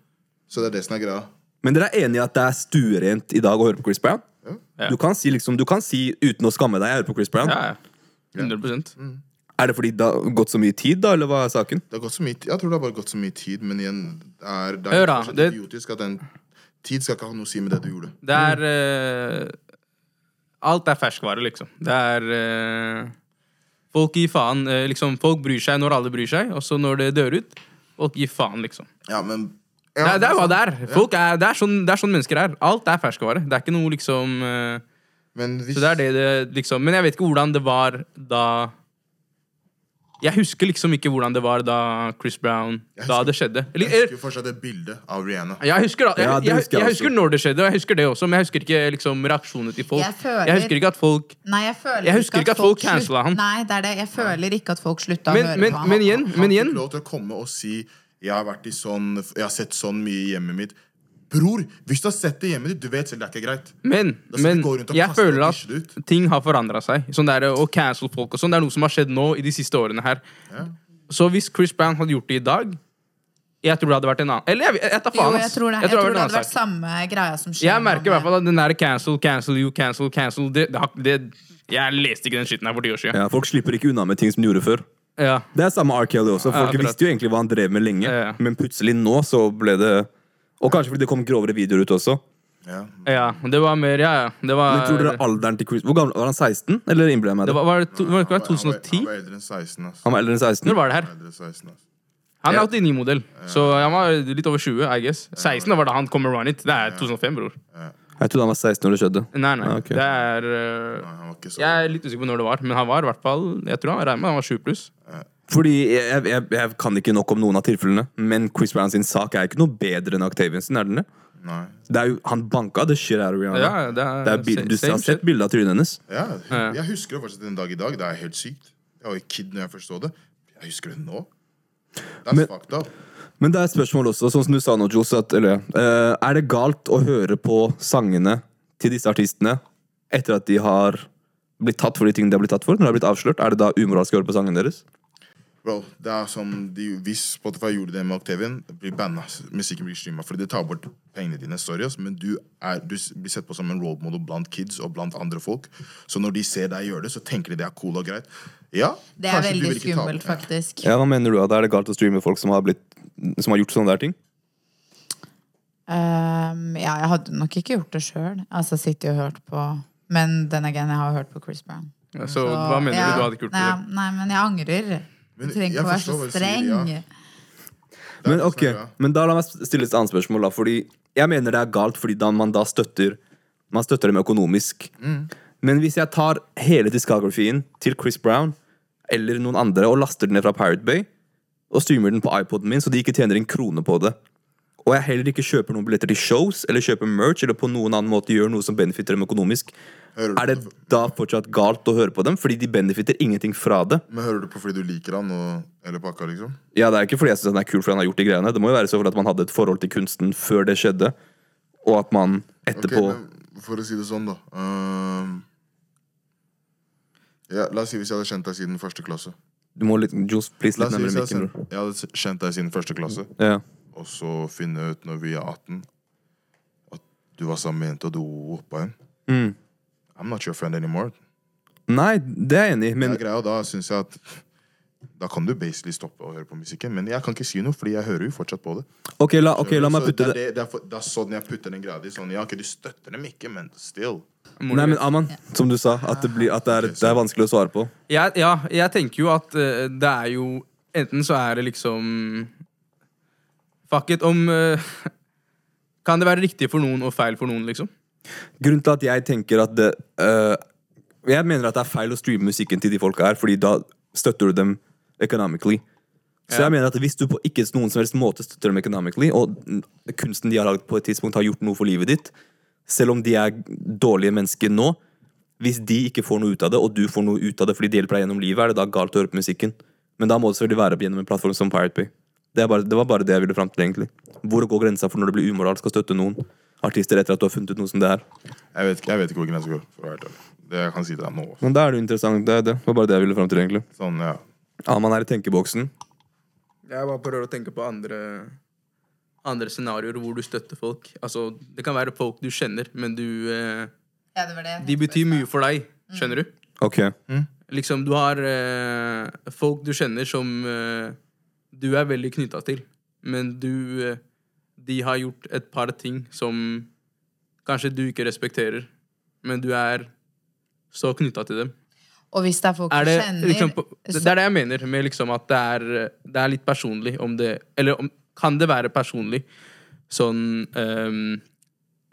Speaker 3: Så det er det som er greia.
Speaker 1: Men dere er enige i at det er stuerent i dag å høre på Chris Brown?
Speaker 2: Ja.
Speaker 1: Du, kan si liksom, du kan si uten å skamme deg 'jeg hører på Chris Brown'.
Speaker 2: Ja, ja. 100
Speaker 3: Mm.
Speaker 1: Er det fordi det har gått så mye tid, da, eller hva er saken?
Speaker 3: Det har gått så mye, ti- jeg tror det har bare gått så mye tid, men igjen det er, det
Speaker 2: Hør
Speaker 3: er
Speaker 2: da,
Speaker 3: fortsatt
Speaker 2: det-
Speaker 3: idiotisk at den tid skal ikke ha noe å si med det du gjorde.
Speaker 2: Det er eh, Alt er ferskvare, liksom. Det er eh, Folk gir faen. eh, liksom, folk bryr seg når alle bryr seg, og så når det dør ut Folk gir faen, liksom.
Speaker 3: Ja, men
Speaker 2: Det
Speaker 3: ja, altså,
Speaker 2: er- det er hva det er.
Speaker 3: Ja.
Speaker 2: Folk er, det, er sånn, det er sånn mennesker er. Alt er ferskvare. Det er ikke noe liksom eh,
Speaker 3: Men hvis,
Speaker 2: Så det er det det liksom Men jeg vet ikke hvordan det var da Jeg husker liksom ikke hvordan det var da Chris Brown Da
Speaker 3: Jeg husker-
Speaker 2: det skjedde.
Speaker 3: jeg
Speaker 2: Eller,
Speaker 3: husker jo fortsatt det bildet av Rihanna.
Speaker 2: jeg husker, da, jeg,
Speaker 1: Ja, det
Speaker 2: jeg,
Speaker 1: husker jeg
Speaker 2: jeg
Speaker 1: også.
Speaker 2: husker når det skjedde, og jeg husker det også, men jeg husker ikke liksom, reaksjonene til folk.
Speaker 4: Jeg føler-
Speaker 2: husker ikke at folk
Speaker 4: Nei, jeg føler
Speaker 2: Jeg husker ikke at folk
Speaker 4: slutt-
Speaker 2: cancela han.
Speaker 4: Nei, det er det. Jeg føler ikke at folk slutta å
Speaker 2: Men,
Speaker 4: høre
Speaker 2: men,
Speaker 4: på
Speaker 2: men
Speaker 4: han.
Speaker 2: igjen, men igjen
Speaker 3: fikk lov til å komme og si jeg har, vært i sånn, jeg har sett sånn mye i hjemmet mitt. Bror, hvis du har sett det i hjemmet ditt, du vet selv det er ikke greit.
Speaker 2: Men,
Speaker 3: Da skal
Speaker 2: men
Speaker 3: vi gå rundt og
Speaker 2: jeg
Speaker 3: kaste
Speaker 2: føler
Speaker 3: og
Speaker 2: at
Speaker 3: dysje det ut.
Speaker 2: ting har forandra seg. Sånn der, Å cancel folk og sånn. Det er noe som har skjedd nå i de siste årene her. Så hvis Chris Brown hadde gjort det i dag jeg tror det hadde vært en annen Eller jeg, jeg, jeg tar
Speaker 4: Jo,
Speaker 2: faen,
Speaker 4: jeg
Speaker 2: ass.
Speaker 4: tror det. Jeg tror
Speaker 2: en
Speaker 4: det hadde
Speaker 2: annen
Speaker 4: vært
Speaker 2: sak.
Speaker 4: samme greia som skjer.
Speaker 2: Jeg merker i hvert
Speaker 4: nå med-
Speaker 2: fall at den der cancel, cancel you, cancel, cancel det, det, har- det, Jeg leste ikke den skitten her for ti år siden.
Speaker 1: Ja, folk slipper ikke unna med ting som de gjorde før.
Speaker 2: Ja.
Speaker 1: Det er samme R. Kelly også. Folk
Speaker 2: akkurat.
Speaker 1: visste jo egentlig hva han drev med lenge,
Speaker 2: Ja, ja.
Speaker 1: men plutselig nå så ble det Og kanskje fordi det kom grovere videoer ut også.
Speaker 3: Ja.
Speaker 2: ja. Det var mer Ja, ja. Det var
Speaker 1: Men tror dere alderen til Chris Hvor gammel var han? 16? Eller innbiller jeg meg det?
Speaker 2: det var, var det to, var det ikke
Speaker 3: Han var-
Speaker 2: bare 2010?
Speaker 3: Han var eldre enn 16, ass.
Speaker 1: Han var eldre enn 16.
Speaker 2: Når var det her?
Speaker 3: Eldre enn 16, ass.
Speaker 2: Han er 89-modell, så han var litt over 20, I guess. 16 var da han kom med Run It. Det er 2005, bror.
Speaker 1: Jeg trodde han var 16 når det skjedde.
Speaker 2: Nei, nei.
Speaker 1: Ah, ok.
Speaker 2: Det er øh,
Speaker 3: Nei, han var ikke så
Speaker 2: Jeg er litt usikker på når det var, men han var i hvert fall Jeg tror han regner med han var 7 pluss.
Speaker 1: Fordi jeg, jeg, jeg kan ikke nok om noen av tilfellene, men Chris Brown sin sak er ikke noe bedre enn Octaviansen, er den det?
Speaker 3: Nei.
Speaker 1: Det er jo, han banka det shit out of Rihanna.
Speaker 2: Ja, ja, det er-
Speaker 1: Ah. det er, bil- du
Speaker 2: same
Speaker 1: har
Speaker 2: shit.
Speaker 1: sett bilde av trynet hennes.
Speaker 3: Ja, jeg husker det fortsatt en dag i dag. Det er helt sykt. Jeg var jo kid når jeg først så det. Jeg husker det nå. That's
Speaker 1: Men-
Speaker 3: fucked up.
Speaker 1: Men det er et spørsmål også, sånn som du sa nå, Johs, at, eller, eh, er det galt å høre på sangene til disse artistene etter at de har blitt tatt for de tingene de har blitt tatt for? Når de har blitt avslørt, Er det da umoralsk å høre på sangene deres?
Speaker 3: Bro, det er som de, Hvis Spotify gjorde det med Octavian, blir banna. Musikken blir streama. Fordi det tar bort pengene dine. Sorry, ass, men du, er, du s- blir sett på som en role model blant kids og blant andre folk. Så når de ser deg gjøre det, så tenker de det er cool og greit. Ja,
Speaker 4: Det er
Speaker 3: kanskje du
Speaker 4: veldig
Speaker 3: vil ikke ta-
Speaker 4: skummelt, faktisk.
Speaker 1: Ja, Hva mener du? da? Er det galt å streame folk som har, blitt, som har gjort sånne der ting?
Speaker 4: Ehm, ja, jeg hadde nok ikke gjort det sjøl. Altså sittet og hørt på Men den again, jeg har hørt på Chris Brown.
Speaker 2: Ja, så hva mener
Speaker 4: ja,
Speaker 2: du? Du hadde ikke gjort
Speaker 4: nei,
Speaker 2: det?
Speaker 4: Nei, men jeg angrer.
Speaker 3: Men
Speaker 4: du trenger
Speaker 3: jeg
Speaker 4: ikke å være
Speaker 3: forstår
Speaker 4: så
Speaker 3: hva du sier,
Speaker 4: streng.
Speaker 3: ja. Det er
Speaker 1: Men
Speaker 3: sånn,
Speaker 1: ok,
Speaker 3: ja.
Speaker 1: men da la meg stille et annet spørsmål, da. Fordi jeg mener det er galt fordi da man da støtter Man støtter dem økonomisk.
Speaker 3: Mm.
Speaker 1: Men hvis jeg tar hele diskografien til Chris Brown eller noen andre og laster den ned fra Pirate Bay og streamer den på iPoden min, så de ikke tjener en krone på det, og jeg heller ikke kjøper noen billetter til shows eller kjøper merch eller på noen annen måte gjør noe som benefitter dem økonomisk,
Speaker 3: Hører du
Speaker 1: er det da fortsatt galt å høre på dem? Fordi de benefitter ingenting fra det.
Speaker 3: Men hører du på fordi du liker han og, eller pakka, liksom?
Speaker 1: Ja, det er ikke fordi jeg synes han er kul fordi han har gjort de greiene. Det må jo være så fordi at man hadde et forhold til kunsten før det skjedde, og at man
Speaker 3: Ok,
Speaker 1: etterpå
Speaker 3: men for å si det sånn, da. ehm, ja, la oss si hvis jeg hadde kjent deg siden første klasse.
Speaker 1: Du må litt Jules, please,
Speaker 3: La
Speaker 1: litt
Speaker 3: oss si sånn. hvis
Speaker 1: nærmere
Speaker 3: jeg, hadde
Speaker 1: mikken, bror.
Speaker 3: kjent, jeg hadde kjent deg siden første klasse,
Speaker 1: Ja.
Speaker 3: og så finne ut når vi er 18 at du var sammen med en jente, og du whoppa henne.
Speaker 1: Mm.
Speaker 3: I'm not your friend anymore.
Speaker 1: Nei, det er jeg enig i,
Speaker 3: Det
Speaker 1: men
Speaker 3: er greia, og da synes jeg at da kan du basically stoppe å høre på musikken, men jeg kan ikke si noe, fordi jeg hører jo fortsatt på det.
Speaker 1: ok, la, ok, la meg
Speaker 3: Så
Speaker 1: putte
Speaker 3: er
Speaker 1: det
Speaker 3: det, det, er for, det er sånn jeg putter den greia di. Sånn, ja, ok, du støtter dem ikke, men still.
Speaker 1: Nei, men Aman, som du sa, at det, blir, at det, er, det er vanskelig å svare på.
Speaker 2: Jeg, ja, jeg tenker jo at eh, det er jo Enten så er det liksom Fuck it om eh, Kan det være riktig for noen og feil for noen, liksom?
Speaker 1: Grunnen til at jeg tenker at det øh, Jeg mener at det er feil å streame musikken til de folka her, fordi da støtter du dem economically. Så
Speaker 2: Ja.
Speaker 1: jeg mener at hvis du på ikke noen som helst måte støtter dem economically, og n- kunsten de har laget på et tidspunkt har gjort noe for livet ditt, selv om de er dårlige mennesker nå, hvis de ikke får noe ut av det, og du får noe ut av det fordi de hjelper deg gjennom livet, er det da galt å høre på musikken. Men da må det selvfølgelig være gjennom en plattform som Pirate Bay. Det, er bare, det var bare det jeg ville fram til, egentlig. Hvor går grensa for når det blir umoralsk å støtte noen artister etter at du har funnet ut noe som det er?
Speaker 3: Jeg vet, ikke- jeg vet ikke hvor grensa går. For å være helt ærlig. Det jeg kan si til deg nå.
Speaker 1: Men da er det jo interessant. Det, er det. det var bare det jeg ville fram til, egentlig.
Speaker 3: Sånn, ja.
Speaker 1: Aman er i tenkeboksen.
Speaker 2: Jeg bare prøver å tenke på andre Andre scenarioer hvor du støtter folk. Altså, Det kan være folk du kjenner, men du eh,
Speaker 4: Ja, det var det jeg
Speaker 2: De
Speaker 4: tenkte på i
Speaker 2: betyr
Speaker 4: stad.
Speaker 2: mye for deg. Skjønner du?
Speaker 1: Ok.
Speaker 2: Liksom, du har eh, folk du kjenner som eh, du er veldig knytta til, men du eh, De har gjort et par ting som kanskje du ikke respekterer, men du er så knytta til dem.
Speaker 4: Og hvis det er folk
Speaker 2: Er det,
Speaker 4: du kjenner
Speaker 2: liksom, på- det det er det jeg mener med liksom at det er, eh, det er litt personlig om det Eller om, kan det være personlig? Sånn ehm,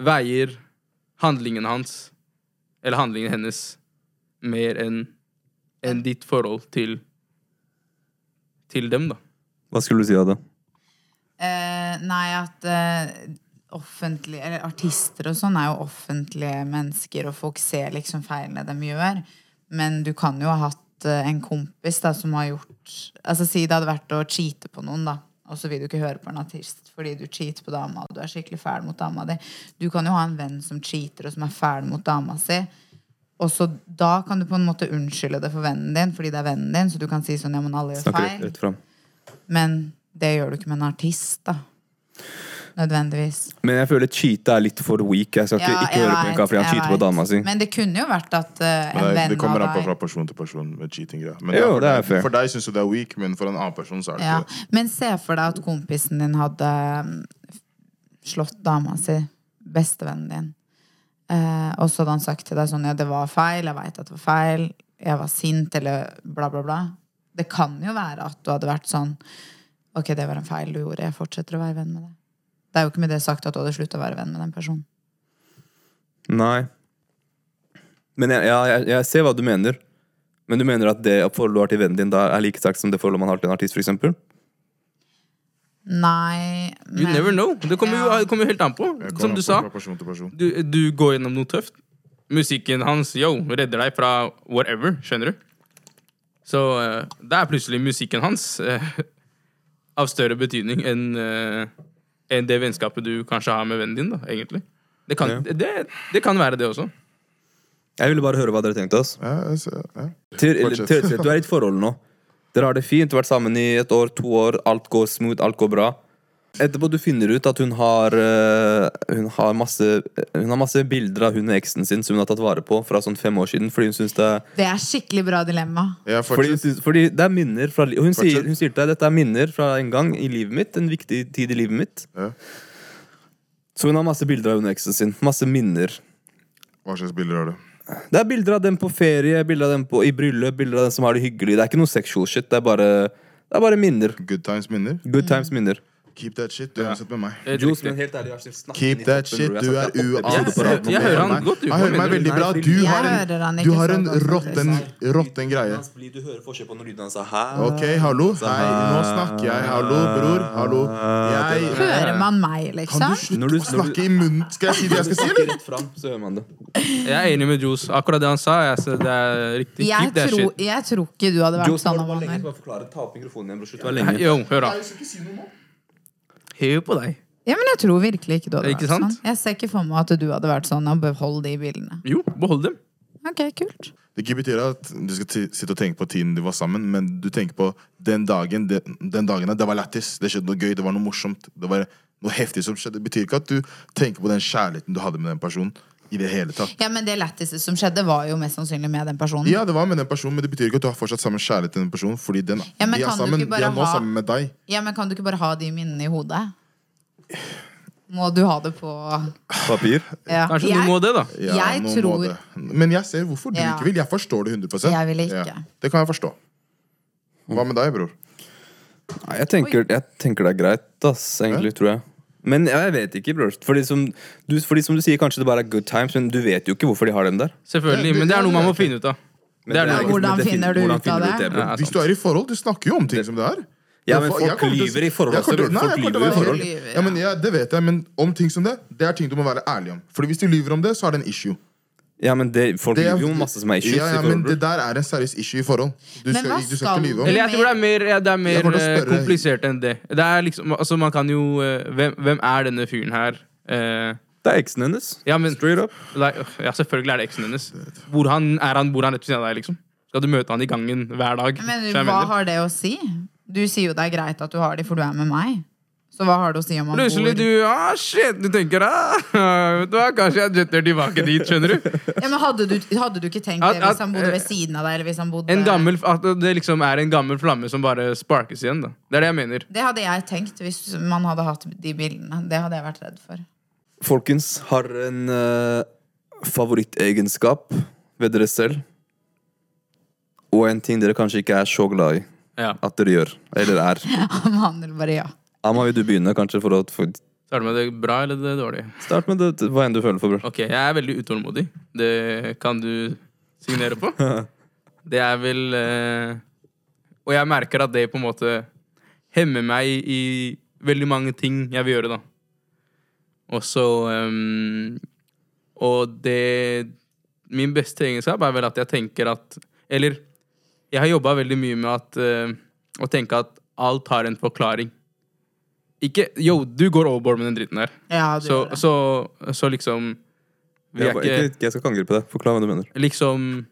Speaker 2: Veier handlingen hans, eller handlingen hennes, mer enn enn ditt forhold til Til dem, da.
Speaker 1: Hva skulle du si av det?
Speaker 4: Eh, nei, at eh, offentlige Eller artister og sånn er jo offentlige mennesker, og folk ser liksom feilene de gjør. Men du kan jo ha hatt eh, en kompis da som har gjort Altså Si det hadde vært å cheate på noen, da. Og så vil du ikke høre på en artist fordi du cheater på dama, og du er skikkelig fæl mot dama di. Du kan jo ha en venn som cheater, og som er fæl mot dama si. Og så Da kan du på en måte unnskylde det for vennen din, fordi det er vennen din. Så du kan si sånn, ja, men alle gjør
Speaker 1: Snakker rett,
Speaker 4: feil.
Speaker 1: rett fram.
Speaker 4: Men det gjør du ikke med en artist, da. Nødvendigvis.
Speaker 1: Men jeg føler cheatet er litt for weak. Jeg skal ikke, ikke høre på en kar fordi han
Speaker 4: jeg
Speaker 1: cheater på
Speaker 4: vet.
Speaker 1: dama si.
Speaker 4: Men det kunne jo vært at eh, en
Speaker 3: Men det,
Speaker 4: venn
Speaker 3: det kommer
Speaker 4: av
Speaker 3: an på
Speaker 4: deg-
Speaker 3: fra person til person med cheating-greia. Men
Speaker 1: Jo,
Speaker 3: for
Speaker 1: det er
Speaker 3: deg-
Speaker 1: fair.
Speaker 3: For deg syns du det er weak, men for en annen person så er det
Speaker 4: ja.
Speaker 3: ikke det.
Speaker 4: Men se for deg at kompisen din hadde mm, slått dama si, bestevennen din. Eh, og så hadde han sagt til deg sånn Ja, det var feil. Jeg veit at det var feil. Jeg var sint, eller bla, bla, bla. Det kan jo være at du hadde vært sånn Ok, det var en feil du gjorde. Jeg fortsetter å være venn med deg. Det er jo ikke med det sagt at du hadde slutta å være venn med den personen.
Speaker 1: Nei. Men jeg, ja, jeg, jeg ser hva du mener. Men du mener at det forholdet du har til vennen din, da er like sterkt som det forholdet man har til en artist, for eksempel?
Speaker 4: Nei
Speaker 2: You
Speaker 4: men-
Speaker 2: never know. Det kommer jo
Speaker 4: Ja.
Speaker 2: det kommer jo helt an på.
Speaker 3: Jeg kommer
Speaker 2: Som du
Speaker 3: på-
Speaker 2: sa,
Speaker 3: Fra person til person.
Speaker 2: du, du går gjennom noe tøft. Musikken hans yo, redder deg fra whatever, skjønner du? Så eh, det er plutselig musikken hans eh, av større betydning enn eh, enn det vennskapet du kanskje har med vennen din, da, egentlig. Det kan,
Speaker 1: Ja.
Speaker 2: det, det kan være det også.
Speaker 1: Jeg ville bare høre hva dere tenkte. ass.
Speaker 3: Ja, jeg ser- ja.
Speaker 1: Til, eller,
Speaker 3: Fortsett.
Speaker 1: til, til, du er i et forhold nå. Dere har det fint, vært sammen i et år, to år. Alt går smooth, alt går bra. Etterpå du finner ut at hun har eh, Hun har masse Hun har masse bilder av hun og eksen sin som hun har tatt vare på fra sånn fem år siden. Fordi hun syns det, er-
Speaker 4: Det er skikkelig bra dilemma.
Speaker 3: Ja,
Speaker 1: fordi hun
Speaker 3: fortsett.
Speaker 1: syns- fordi det er minner fra li- Og hun sier,
Speaker 3: Fortsett.
Speaker 1: hun sier til deg dette er minner fra en gang i livet mitt. En viktig tid i livet mitt.
Speaker 3: Ja.
Speaker 1: Så hun har masse bilder av hun og eksen sin. Masse minner.
Speaker 3: Hva slags bilder har du?
Speaker 1: Det er bilder av dem på ferie, bilder av dem på, i bryllup, bilder av dem som har det hyggelig. Det er ikke noe sexual shit. Det er bare, det er bare minner.
Speaker 3: Good times minner?
Speaker 2: Mm.
Speaker 1: Good times minner.
Speaker 3: Keep that shit. Du er uansett med meg.
Speaker 2: Helt
Speaker 1: Jules,
Speaker 2: riktig.
Speaker 1: men helt ærlig, jeg har ikke snakket inn i
Speaker 3: Keep that
Speaker 1: toppen,
Speaker 3: shit.
Speaker 1: bror.
Speaker 3: Du
Speaker 1: Jeg
Speaker 3: er
Speaker 1: har snakket åtte episoder på rad
Speaker 2: Jeg-
Speaker 3: uansett
Speaker 1: nå.
Speaker 2: jeg hører han
Speaker 3: med meg.
Speaker 2: godt, du.
Speaker 3: Han
Speaker 2: Hva
Speaker 3: hører meg
Speaker 2: mener du?
Speaker 3: veldig bra.
Speaker 1: Nei,
Speaker 3: Du
Speaker 1: fordi-
Speaker 3: har
Speaker 4: Jeg hører
Speaker 3: en,
Speaker 4: han ikke
Speaker 3: du
Speaker 4: sånn,
Speaker 3: har
Speaker 4: så
Speaker 3: en
Speaker 4: godt,
Speaker 3: råtten, råtten greie.
Speaker 1: Hans, fordi Du hører forskjell på når lyden hans er her.
Speaker 3: Ok, hallo. Hei, nå snakker jeg. Hallo, bror. Hallo. Jeg
Speaker 4: Hører man meg,
Speaker 3: Kan
Speaker 4: liksom?
Speaker 3: du slutte
Speaker 1: Når du-
Speaker 3: å snakke i munnen? Skal jeg si det jeg skal si, eller?
Speaker 1: Rett fram, så hører man det.
Speaker 2: Jeg er enig med Jules. Akkurat det han sa, jeg, ser- det er riktig.
Speaker 4: Jeg
Speaker 2: Keep that
Speaker 4: tror,
Speaker 2: shit.
Speaker 4: jeg tror ikke du hadde vært
Speaker 1: Jules,
Speaker 4: sånn
Speaker 1: nå
Speaker 4: om
Speaker 1: må du bare lenge
Speaker 4: Manuel.
Speaker 1: til å forklare. Ta opp mikrofonen igjen, bror. Slutt å være lenge.
Speaker 2: Jo, hør da. Hør på deg.
Speaker 4: Ja, men jeg tror virkelig ikke du hadde
Speaker 2: Ikke
Speaker 4: vært sånn.
Speaker 2: sant?
Speaker 4: Jeg ser ikke for meg at du hadde vært sånn og beholdt de bildene.
Speaker 2: Jo, behold dem.
Speaker 4: Ok, kult.
Speaker 3: Det ikke betyr at du skal ti- sitte og tenke på tiden de var sammen, men du tenker på den dagen, det- den dagen der, det var lættis, det skjedde noe gøy, det var noe morsomt, det var noe heftig som skjedde. Det betyr ikke at du tenker på den kjærligheten du hadde med den personen i det hele tatt.
Speaker 4: Ja, men det letteste som skjedde, var jo mest sannsynlig med den personen.
Speaker 3: Ja, det var med den personen, men det betyr ikke at du har fortsatt samme kjærlighet til den personen, fordi den,
Speaker 4: Ja, men
Speaker 3: de er
Speaker 4: kan du
Speaker 3: sammen,
Speaker 4: ikke
Speaker 3: de
Speaker 4: bare
Speaker 3: er nå
Speaker 4: ha-
Speaker 3: sammen med deg.
Speaker 4: Ja, men kan du ikke bare ha de minnene i hodet? Må du ha det på
Speaker 1: Papir.
Speaker 4: ja.
Speaker 2: Kanskje
Speaker 4: jeg,
Speaker 2: noe må det, da.
Speaker 3: Ja,
Speaker 4: Jeg
Speaker 3: nå må
Speaker 4: tror-
Speaker 3: det. Men jeg ser hvorfor du
Speaker 4: Ja.
Speaker 3: ikke vil. Jeg forstår det 100
Speaker 4: Jeg vil ikke.
Speaker 3: Det kan jeg forstå. Hva med deg, bror?
Speaker 1: Nei, jeg tenker, jeg tenker det er greit, ass, egentlig, tror jeg. Men ja, jeg vet ikke, bror. Fordi som, du, fordi som du sier, kanskje det bare er good times, men du vet jo ikke hvorfor de har dem der.
Speaker 2: Selvfølgelig. Men det er noe man må finne ut av.
Speaker 1: Men
Speaker 2: Det er
Speaker 1: ikke-
Speaker 2: noe.
Speaker 4: Hvordan
Speaker 1: men det
Speaker 4: finner du
Speaker 1: hvordan
Speaker 4: ut av
Speaker 1: finner
Speaker 4: det?
Speaker 1: bror?
Speaker 2: Ja,
Speaker 3: Hvis du er i forhold, du snakker jo om ting som det her.
Speaker 1: Ja, men
Speaker 3: Jeg-
Speaker 1: folk
Speaker 3: jeg kommer til å-
Speaker 1: lyver i forhold
Speaker 3: jeg kommer
Speaker 1: også,
Speaker 3: til-
Speaker 1: bror.
Speaker 3: nei,
Speaker 1: Folk
Speaker 3: jeg kommer til
Speaker 1: lyver i
Speaker 3: å være-
Speaker 4: forhold. Lyver,
Speaker 3: Ja, men ja, Det vet jeg, men om ting som det, det er ting du må være ærlig om. Fordi hvis du lyver om det, så er det en issue.
Speaker 1: Ja, men det, folk
Speaker 3: Det er-
Speaker 1: lyver jo om masse som er issues.
Speaker 3: Ja, ja,
Speaker 1: i forhold,
Speaker 3: men
Speaker 1: bror.
Speaker 3: det der er en seriøs issue i forhold. Du
Speaker 4: Men
Speaker 3: skal,
Speaker 4: hva
Speaker 3: du skal
Speaker 4: skal
Speaker 3: ikke lyve om
Speaker 2: Eller jeg tror det er mer, ja, det er
Speaker 3: Jeg
Speaker 2: mer
Speaker 3: kommer til å
Speaker 2: eh,
Speaker 3: spørre-
Speaker 2: komplisert enn det. Det er liksom, altså Man kan jo eh, Hvem, hvem er denne fyren her? Eh,
Speaker 1: Det er eksen hennes.
Speaker 2: ja, men
Speaker 1: Straight up.
Speaker 2: like, øh, Ja, selvfølgelig er det eksen hennes. Hvor han, er han, bor han rett ved siden av deg, liksom? Skal du møte han i gangen hver dag?
Speaker 4: Men
Speaker 2: Så jeg
Speaker 4: hva
Speaker 2: mener.
Speaker 4: har det å si? Du sier jo det er greit at du har de, for du er med meg. Så hva har det å si om han
Speaker 2: Plutselig
Speaker 4: bor
Speaker 2: du ah, shit, du tenker ah, vet du hva, Kanskje jeg jetter tilbake dit, skjønner du?
Speaker 4: ja, men hadde, du, hadde du ikke tenkt
Speaker 2: At-
Speaker 4: det hvis
Speaker 2: at- eh,
Speaker 4: han bodde ved siden av deg? Eller hvis han bodde
Speaker 2: En gammel, at det liksom er en gammel flamme som bare sparkes igjen. da Det er det jeg mener.
Speaker 4: Det hadde jeg tenkt hvis man hadde hatt de bildene. Det hadde jeg vært redd for.
Speaker 1: Folkens, har en eh, favorittegenskap ved dere selv. Og en ting dere kanskje ikke er så glad i
Speaker 2: Ja,
Speaker 1: at dere gjør. Eller er.
Speaker 4: Manuel bare ja.
Speaker 1: Amma, vil du begynne, kanskje? for å få-
Speaker 2: Så er det med det bra eller det dårlige?
Speaker 1: Start med det, hva enn du føler for, bror.
Speaker 2: Ok, jeg er veldig utålmodig. Det kan du signere på. Det er vel eh, Og jeg merker at det på en måte hemmer meg i veldig mange ting jeg vil gjøre, da. Og så ehm, Og det Min beste egenskap er vel at jeg tenker at Eller jeg har jobba veldig mye med at eh, å tenke at alt har en forklaring. Ikke Yo, du går overboard med den dritten her.
Speaker 4: ja du
Speaker 2: Så,
Speaker 4: gjør det.
Speaker 2: så, så liksom Vi
Speaker 1: Jeg,
Speaker 2: er ikke
Speaker 1: ikke, jeg skal ikke angripe deg. Forklar hva du mener.
Speaker 2: Liksom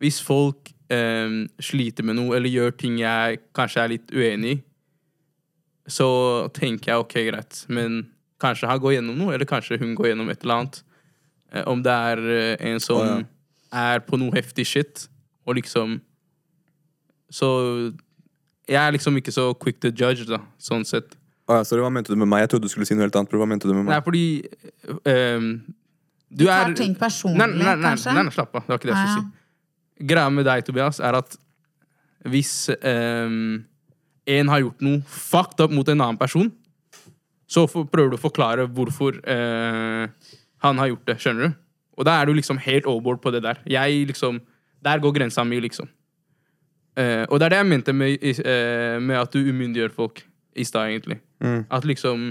Speaker 2: Hvis folk eh, sliter med noe, eller gjør ting jeg kanskje er litt uenig i, så tenker jeg ok, greit, men kanskje han går gjennom noe, eller kanskje hun går gjennom et eller annet. Eh, om det er eh, en som
Speaker 1: Å, ja.
Speaker 2: er på noe heftig shit, og liksom Så jeg er liksom ikke så quick to judge, da, sånn sett.
Speaker 1: Å ja, sorry, hva mente du med meg? Jeg trodde du skulle si noe helt annet. bror. Hva mente du med
Speaker 2: Nei,
Speaker 1: meg?
Speaker 2: fordi ehm, Du
Speaker 4: tar
Speaker 2: er
Speaker 4: ting personlig,
Speaker 2: nei, nei, nei,
Speaker 4: kanskje?
Speaker 2: Nei, nei, slapp av. Det var ikke det jeg
Speaker 4: Ah,
Speaker 2: skulle si. Greia med deg, Tobias, er at hvis ehm, en har gjort noe fucked up mot en annen person, så for, prøver du å forklare hvorfor eh, han har gjort det. Skjønner du? Og da er du liksom helt overboard på det der. Jeg liksom Der går grensa mi, liksom. Eh, og det er det jeg mente med, i- eh, med at du umyndiggjør folk i stad, egentlig. At liksom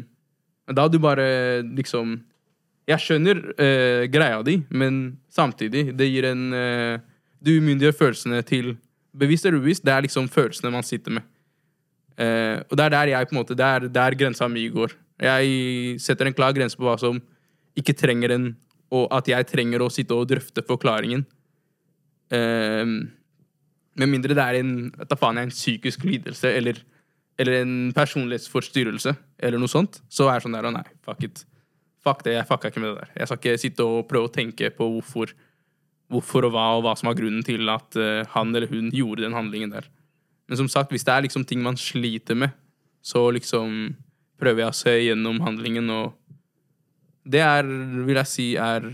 Speaker 2: Da du bare liksom Jeg skjønner eh, greia di, men samtidig, det gir en eh, Du umyndiggjør følelsene til Bevisst eller ubevisst, det er liksom følelsene man sitter med. Eh, og det er der jeg på en måte Det er der grensa mi går. Jeg setter en klar grense på hva som ikke trenger en, og at jeg trenger å sitte og drøfte forklaringen. Eh, med mindre det er en, vet da faen, jeg, en psykisk lidelse eller, eller en personlighetsforstyrrelse, eller noe sånt, så er jeg sånn der Å, nei, fuck it. Fuck det, jeg fucka ikke med det der. Jeg skal ikke sitte og prøve å tenke på hvorfor, hvorfor og hva, og hva som var grunnen til at eh, han eller hun gjorde den handlingen der. Men som sagt, hvis det er liksom ting man sliter med, så liksom prøver jeg å se gjennom handlingen, og det er, vil jeg si, er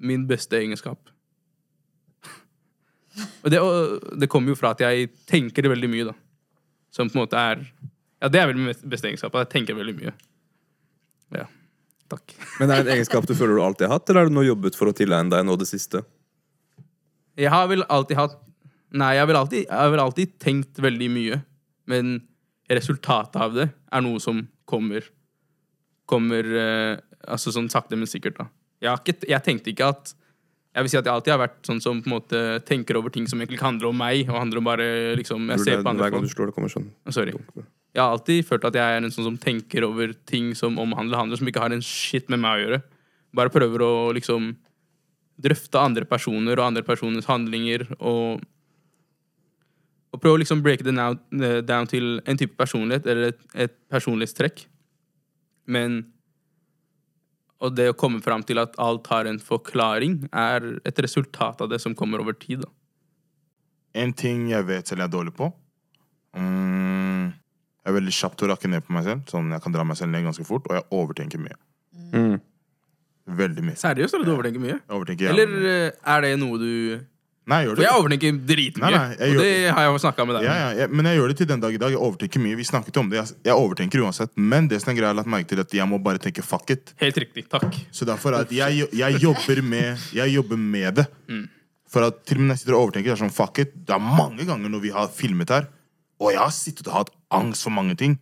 Speaker 2: min beste egenskap. Og det, og det kommer jo fra at jeg tenker veldig mye, da. Som på en måte er Ja, det er vel min best- beste egenskap. at Jeg tenker veldig mye. Ja. Takk.
Speaker 1: Men er det en egenskap du føler du alltid har hatt, eller har du nå jobbet for å tilegne deg nå det siste?
Speaker 2: Jeg har vel alltid hatt Nei, jeg har vel alltid, jeg har vel alltid tenkt veldig mye. Men resultatet av det er noe som kommer Kommer eh, altså sånn sakte, men sikkert. da. Jeg, har ikke, jeg tenkte ikke at Jeg vil si at jeg alltid har vært sånn som på en måte tenker over ting som egentlig ikke handler om meg. og handler om bare liksom, jeg ser på andre
Speaker 1: Hver gang
Speaker 2: folk.
Speaker 1: du slår, det kommer sånn
Speaker 2: Sorry. Jeg har alltid følt at jeg er en sånn som tenker over ting som omhandler handel, som ikke har en shit med meg å gjøre. Bare prøver å liksom drøfte andre personer og andre personers handlinger og og prøve å liksom breake det now- eh, down til en type personlighet eller et, et personlighetstrekk. Men Og det å komme fram til at alt har en forklaring, er et resultat av det som kommer over tid. da.
Speaker 3: En ting jeg vet selv jeg er dårlig på mm, Jeg er veldig kjapp til å rakke ned på meg selv. Sånn Jeg kan dra meg selv ned ganske fort, og jeg overtenker mye. Veldig mye.
Speaker 2: Seriøst, eller du overtenker mye?
Speaker 3: Jeg overtenker jævlig
Speaker 2: Eller
Speaker 3: mye.
Speaker 2: eh, er det noe du
Speaker 3: Nei, jeg gjør
Speaker 2: For
Speaker 3: det.
Speaker 2: jeg overtenker
Speaker 3: Nei,
Speaker 2: dritmye.
Speaker 3: nei, jeg
Speaker 2: Og
Speaker 3: gjør-
Speaker 2: det har jeg jo snakka med deg
Speaker 3: Ja,
Speaker 2: om.
Speaker 3: ja, jeg, men jeg gjør det til den dag i dag. Jeg overtenker mye. Vi snakket om det. Jeg, jeg overtenker uansett. Men det som er greia, jeg har lagt merke til, er at jeg må bare tenke fuck it.
Speaker 2: Helt riktig. Takk.
Speaker 3: Så derfor er at jeg, jeg, jobber med, jeg jobber med det. For at til og med når jeg sitter og overtenker, det er sånn fuck it. Det er mange ganger når vi har filmet her, og jeg har sittet og hatt angst for mange ting.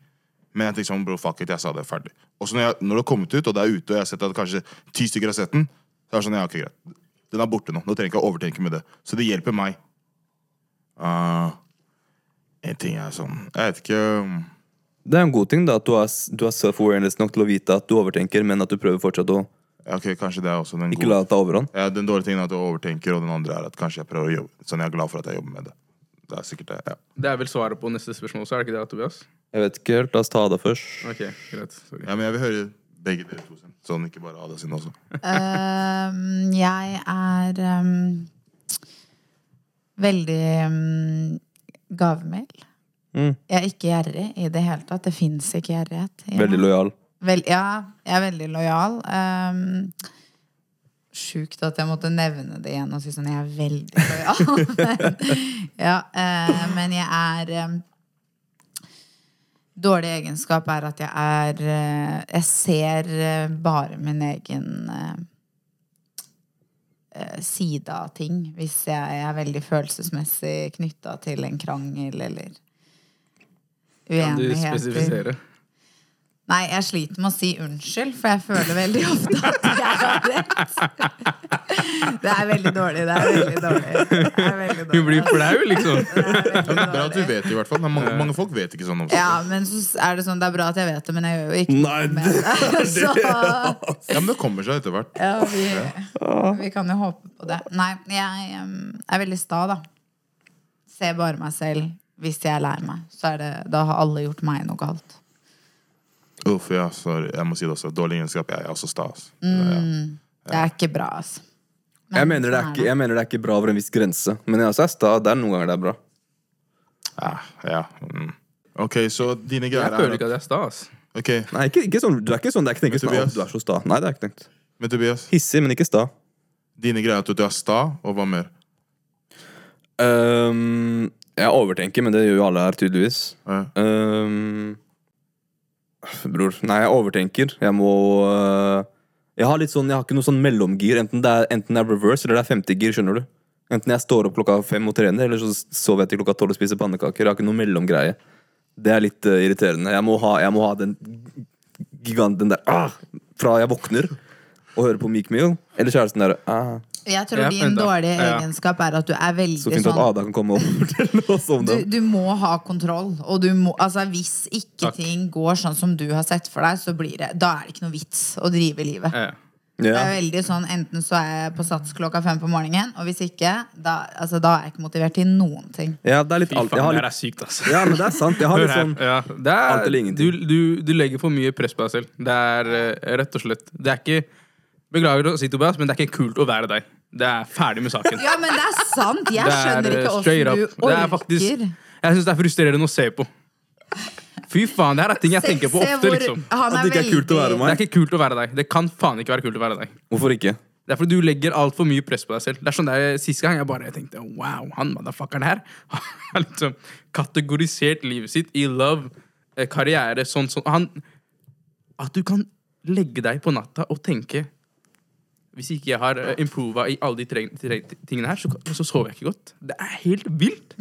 Speaker 3: Men jeg tenker sånn, bro, fuck it, jeg sa det ferdig. Og så når, jeg, når det har kommet ut, og det er ute, og jeg har sett at kanskje ti stykker har sett den, så er det sånn, ja, ok, greit. Den er borte nå. Nå trenger jeg ikke å overtenke med det. Så det hjelper meg. Ah, en ting er sånn Jeg vet ikke
Speaker 1: Det er en god ting da, at du har, du har self-awareness nok til å vite at du overtenker, men at du prøver fortsatt å
Speaker 3: ja, Ok, kanskje det er også den
Speaker 1: ikke la
Speaker 3: gode
Speaker 1: det ta overhånd.
Speaker 3: ja, Den dårlige tingen er at du overtenker, og den andre er at kanskje jeg prøver å jobbe. Sånn, jeg er glad for at jeg jobber med det. Det er sikkert det. ja.
Speaker 2: Det er vel svaret på neste spørsmål også, er det ikke det, Tobias?
Speaker 1: Jeg vet ikke helt, la oss ta det først.
Speaker 2: Ok, greit. Sorry.
Speaker 3: Ja, men jeg vil høre begge dere to sin. Sånn ikke bare Ada sin også.
Speaker 4: Ehm, jeg er ehm, veldig um, gavmild.
Speaker 1: Mm.
Speaker 4: Jeg er ikke gjerrig i det hele tatt. Det fins ikke gjerrighet. i
Speaker 1: Veldig
Speaker 4: meg.
Speaker 1: lojal.
Speaker 4: Vel, ja, jeg er veldig lojal. Um, Sjukt at jeg måtte nevne det igjen og si sånn Jeg er veldig lojal. men, ja, eh, men jeg er eh, Dårlig egenskap er at jeg er eh, Jeg ser eh, bare min egen eh, eh, side av ting. Hvis jeg er veldig følelsesmessig knytta til en krangel eller
Speaker 2: Kan du
Speaker 4: uenigheter.
Speaker 2: spesifisere?
Speaker 4: Nei, jeg sliter med å si unnskyld, for jeg føler veldig ofte at jeg har rett. Det er veldig dårlig. Det er veldig dårlig. Det er veldig dårlig. altså.
Speaker 2: Hun blir flau, liksom.
Speaker 4: Det er veldig
Speaker 3: Ja, men det er bra at du
Speaker 4: dårlig.
Speaker 3: vet det, i hvert fall. Det er Mange, mange folk vet ikke sånn om seg.
Speaker 4: Ja, men så er det sånn, det er bra at jeg vet det, men jeg gjør jo ikke
Speaker 1: Nei,
Speaker 4: noe med det. Så
Speaker 3: Ja, men det kommer seg etter hvert.
Speaker 4: ja, vi, vi kan jo håpe på det. Nei, jeg em, er veldig sta, da. Ser bare meg selv. Hvis jeg er lei meg, så er det, da har alle gjort meg noe galt.
Speaker 3: Uff, ja, sorry. Jeg må si det også. Dårlig egenskap. Jeg er også sta. ass.
Speaker 4: Det er ikke bra, altså.
Speaker 1: Jeg mener, det er
Speaker 4: sånn
Speaker 1: ikke, jeg mener det er ikke bra over en viss grense, men jeg også er sta. Det er noen ganger det er bra.
Speaker 3: Ja, ja. Mm. Ok, så dine
Speaker 2: Jeg
Speaker 3: greier
Speaker 2: føler
Speaker 3: er
Speaker 2: ikke at jeg er stas.
Speaker 3: Ok,
Speaker 1: Nei, ikke, ikke sånn, du er ikke sånn, det er ikke tenkt sånn,
Speaker 3: Tobias?
Speaker 1: «Å, du er så sta. Nei, det er ikke tenkt.
Speaker 3: men Tobias,
Speaker 1: Hissig, men ikke sta.
Speaker 3: dine greier er at du er sta, og hva mer?
Speaker 1: Øhm, Ehm, jeg overtenker, men det gjør jo alle her, tydeligvis.
Speaker 3: Ja.
Speaker 1: Øhm, Ehm, bror, nei, jeg overtenker. Jeg må eh, øh, Jeg har litt sånn, jeg har ikke noe sånn mellomgir. Enten det er, enten det er reverse eller det er femtegir, skjønner du. Enten jeg står opp klokka fem og trener, eller så sover jeg til klokka tolv og spiser pannekaker. Jeg har ikke noe mellomgreie. Det er litt eh, irriterende. Jeg må ha, jeg må ha den giganten der ah, fra jeg våkner og hører på Meek Mill, eller kjæresten der ah,
Speaker 4: Jeg tror
Speaker 2: Ja,
Speaker 4: din
Speaker 2: vent da.
Speaker 4: dårlige
Speaker 2: Ja.
Speaker 4: egenskap er at du er
Speaker 1: Så
Speaker 4: veldig
Speaker 1: fint at
Speaker 4: sånn
Speaker 1: Ada kan komme og fortelle oss om
Speaker 4: du,
Speaker 1: det.
Speaker 4: du må ha kontroll. Og du må, altså, hvis ikke
Speaker 2: Takk.
Speaker 4: ting går sånn som du har sett for deg, så blir det, da er det ikke noe vits å drive livet.
Speaker 2: Ja.
Speaker 4: Det
Speaker 1: Ja.
Speaker 4: er veldig sånn, Enten så er jeg på sats klokka fem på morgenen, og hvis ikke, da, altså, da er jeg ikke motivert til noen ting.
Speaker 1: ja, det er litt
Speaker 2: Fy
Speaker 1: alt. Jeg
Speaker 2: faen,
Speaker 1: har
Speaker 2: det her
Speaker 1: litt,
Speaker 2: er sykt, altså.
Speaker 1: ja, men det er sant. Jeg har
Speaker 2: Hør
Speaker 1: litt
Speaker 2: her.
Speaker 1: sånn
Speaker 2: Ja, det
Speaker 1: Alt eller
Speaker 2: er, du,
Speaker 1: ingenting.
Speaker 2: du, du legger for mye press på deg selv. Det er eh, rett og slett Det er ikke Beklager å si Tobias, men det er ikke kult å være deg. Det er ferdig med saken.
Speaker 4: Ja, men det er sant! Jeg
Speaker 2: Det er,
Speaker 4: skjønner
Speaker 2: eh,
Speaker 4: ikke
Speaker 2: straight
Speaker 4: åssen du
Speaker 2: up. Det er
Speaker 4: orker.
Speaker 2: faktisk- Jeg syns det er frustrerende å se på. Fy faen, det her er ting jeg
Speaker 4: Se-
Speaker 2: tenker på
Speaker 4: se
Speaker 2: ofte,
Speaker 4: hvor-
Speaker 2: liksom.
Speaker 4: han
Speaker 1: At det ikke er kult å være
Speaker 2: Det
Speaker 1: meg.
Speaker 2: er ikke kult å være deg. Det kan faen ikke være kult å være deg.
Speaker 1: Hvorfor ikke?
Speaker 2: Det er fordi du legger altfor mye press på deg selv. Det er sånn der, Sist gang jeg bare tenkte wow, han motherfuckeren her har liksom kategorisert livet sitt i love, eh, karriere, sånn sånn han, At du kan legge deg på natta og tenke Hvis ikke jeg har eh, improva i alle de tre, tre tingene her, så, så sover jeg ikke godt. Det er helt vilt.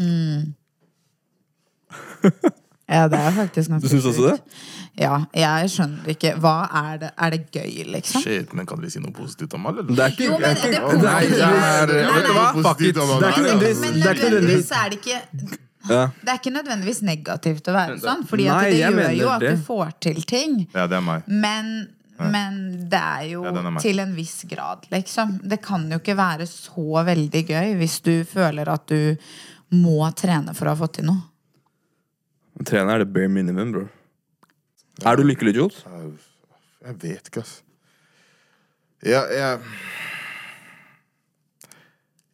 Speaker 4: Ja, det er faktisk ganske
Speaker 1: Du syns også
Speaker 4: sjukt. Ja, jeg skjønner ikke. Hva er det? Er det gøy, liksom?
Speaker 3: Shit, men kan dere si noe positivt om han, eller?
Speaker 1: Det er ikke
Speaker 4: Jo, men det
Speaker 1: jeg-
Speaker 4: er positivt.
Speaker 1: Nei, det
Speaker 3: er-
Speaker 4: Nei, nei.
Speaker 3: vet du hva? Fuck it.
Speaker 1: Det er ikke nødvendigvis
Speaker 4: Men
Speaker 1: Det er ikke nødvendigvis
Speaker 4: nødvendigvis er det ikke
Speaker 1: ja.
Speaker 4: det er ikke nødvendigvis negativt å være sånn, Fordi at
Speaker 1: Nei,
Speaker 4: det
Speaker 1: jeg
Speaker 4: gjør
Speaker 1: mener
Speaker 4: jo at
Speaker 1: det.
Speaker 4: du får til ting.
Speaker 3: Ja, det er meg.
Speaker 4: Men, men det er jo
Speaker 3: Ja, den er meg.
Speaker 4: til en viss grad, liksom. Det kan jo ikke være så veldig gøy hvis du føler at du må trene for å ha fått til noe.
Speaker 1: Trene er det bare minimum, bro. Er du lykkelig, Jules?
Speaker 3: Jeg jeg vet ikke, ass. Jeg, jeg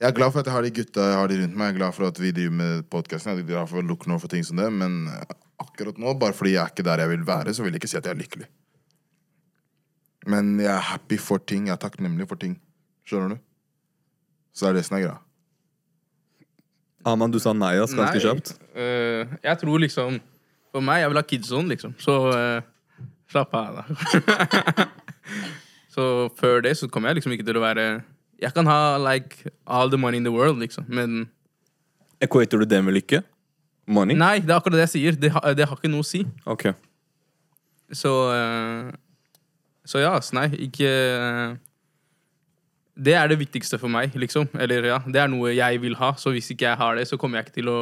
Speaker 3: jeg er glad for at jeg har de gutta jeg har de rundt meg. Jeg er glad for at vi driver med podkasten. Jeg er glad for å lukke noe for ting som det Men akkurat nå, bare fordi jeg er ikke der jeg vil være, så vil jeg ikke si at jeg er lykkelig. Men jeg er happy for ting. Jeg er takknemlig for ting. Skjønner du? Så det er det som er greia.
Speaker 1: Aman, du sa nei ass, ganske kjapt.
Speaker 2: eh, jeg tror liksom For meg, jeg vil ha kidson, liksom. Så eh, slapp av, da. så før det så kommer jeg liksom ikke til å være Jeg kan ha like all the money in the world, liksom, men
Speaker 1: Equater du det med lykke? Money?
Speaker 2: Nei, det er akkurat det jeg sier. Det, ha- det har ikke noe å si.
Speaker 1: Ok.
Speaker 2: Så eh, Så ja, ass, nei, ikke eh, Det er det viktigste for meg, liksom. Eller ja, det er noe jeg vil ha, så hvis ikke jeg har det, så kommer jeg ikke til å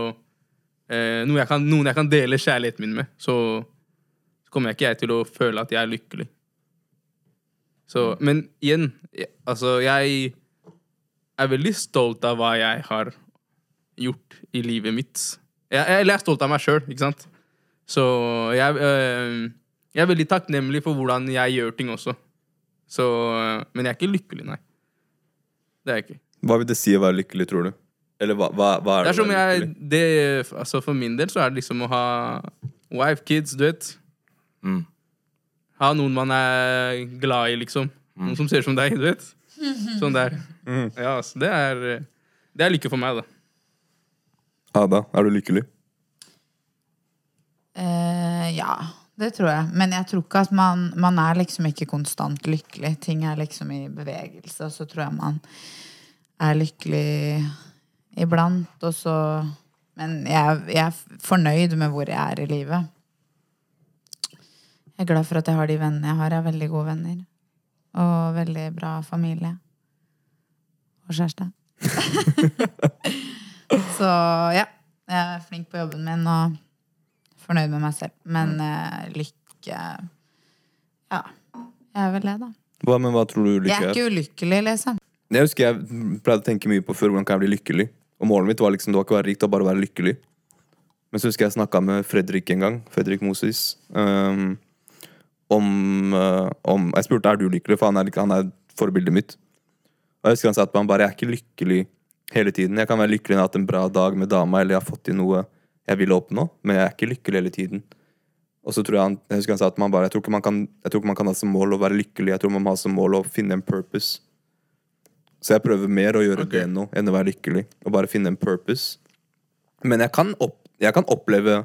Speaker 2: eh, noe jeg kan, Noen jeg kan dele kjærligheten min med, så, så kommer jeg ikke jeg til å føle at jeg er lykkelig. Så, men igjen, jeg, altså jeg er veldig stolt av hva jeg har gjort i livet mitt. Jeg, eller jeg er stolt av meg sjøl, ikke sant? Så jeg, øh, jeg er veldig takknemlig for hvordan jeg gjør ting også. Så, øh, men jeg er ikke lykkelig, nei. Det er jeg ikke.
Speaker 1: Hva vil det si å være lykkelig, tror du? Eller hva, hva, hva er det?
Speaker 2: Det er som
Speaker 1: å være
Speaker 2: jeg,
Speaker 1: lykkelig?
Speaker 2: det, altså for min del så er det liksom å ha wife, kids, du vet.
Speaker 3: Mm.
Speaker 2: Ha noen man er glad i, liksom.
Speaker 1: Mm.
Speaker 2: Noen som ser ut som deg, du vet. Sånn der. Ja, altså, det er, øh, det er lykke for meg, da.
Speaker 1: Ada, er du lykkelig?
Speaker 4: Eh, ja, det tror jeg. Men jeg tror ikke at man, man er liksom ikke konstant lykkelig. Ting er liksom i bevegelse, og så tror jeg man er lykkelig iblant. Og så Men jeg, jeg er fornøyd med hvor jeg er i livet. Jeg er glad for at jeg har de vennene jeg har. Jeg har veldig gode venner. Og veldig bra familie. Og kjæreste. så ja. Jeg er flink på jobben min og fornøyd med meg selv. Men eh, lykke Ja, jeg er vel det, da.
Speaker 1: Hva, men hva tror du lykke
Speaker 4: Jeg er
Speaker 1: er?
Speaker 4: ikke ulykkelig, liksom.
Speaker 1: Jeg husker jeg pleide å tenke mye på før hvordan kan jeg bli lykkelig. Og målet mitt var liksom, det var ikke å være rik, det var bare å være lykkelig. Men så husker jeg jeg snakka med Fredrik en gang, Fredrik Moses, øhm, om, øh, om Jeg spurte er du lykkelig, for han er, ikke- han er forbildet mitt. Og jeg husker han sa at man bare jeg er ikke lykkelig hele tiden. Jeg kan være lykkelig når jeg har hatt en bra dag med dama, eller jeg har fått til noe jeg ville oppnå, men jeg er ikke lykkelig hele tiden. Og så tror jeg han, jeg husker han sa at man bare, jeg tror, ikke man kan, jeg tror ikke man kan ha som mål å være lykkelig, jeg tror man må ha som mål å finne en purpose. Så jeg prøver mer å gjøre det nå enn å være lykkelig. Og bare finne en purpose. Men jeg kan, opp, jeg kan oppleve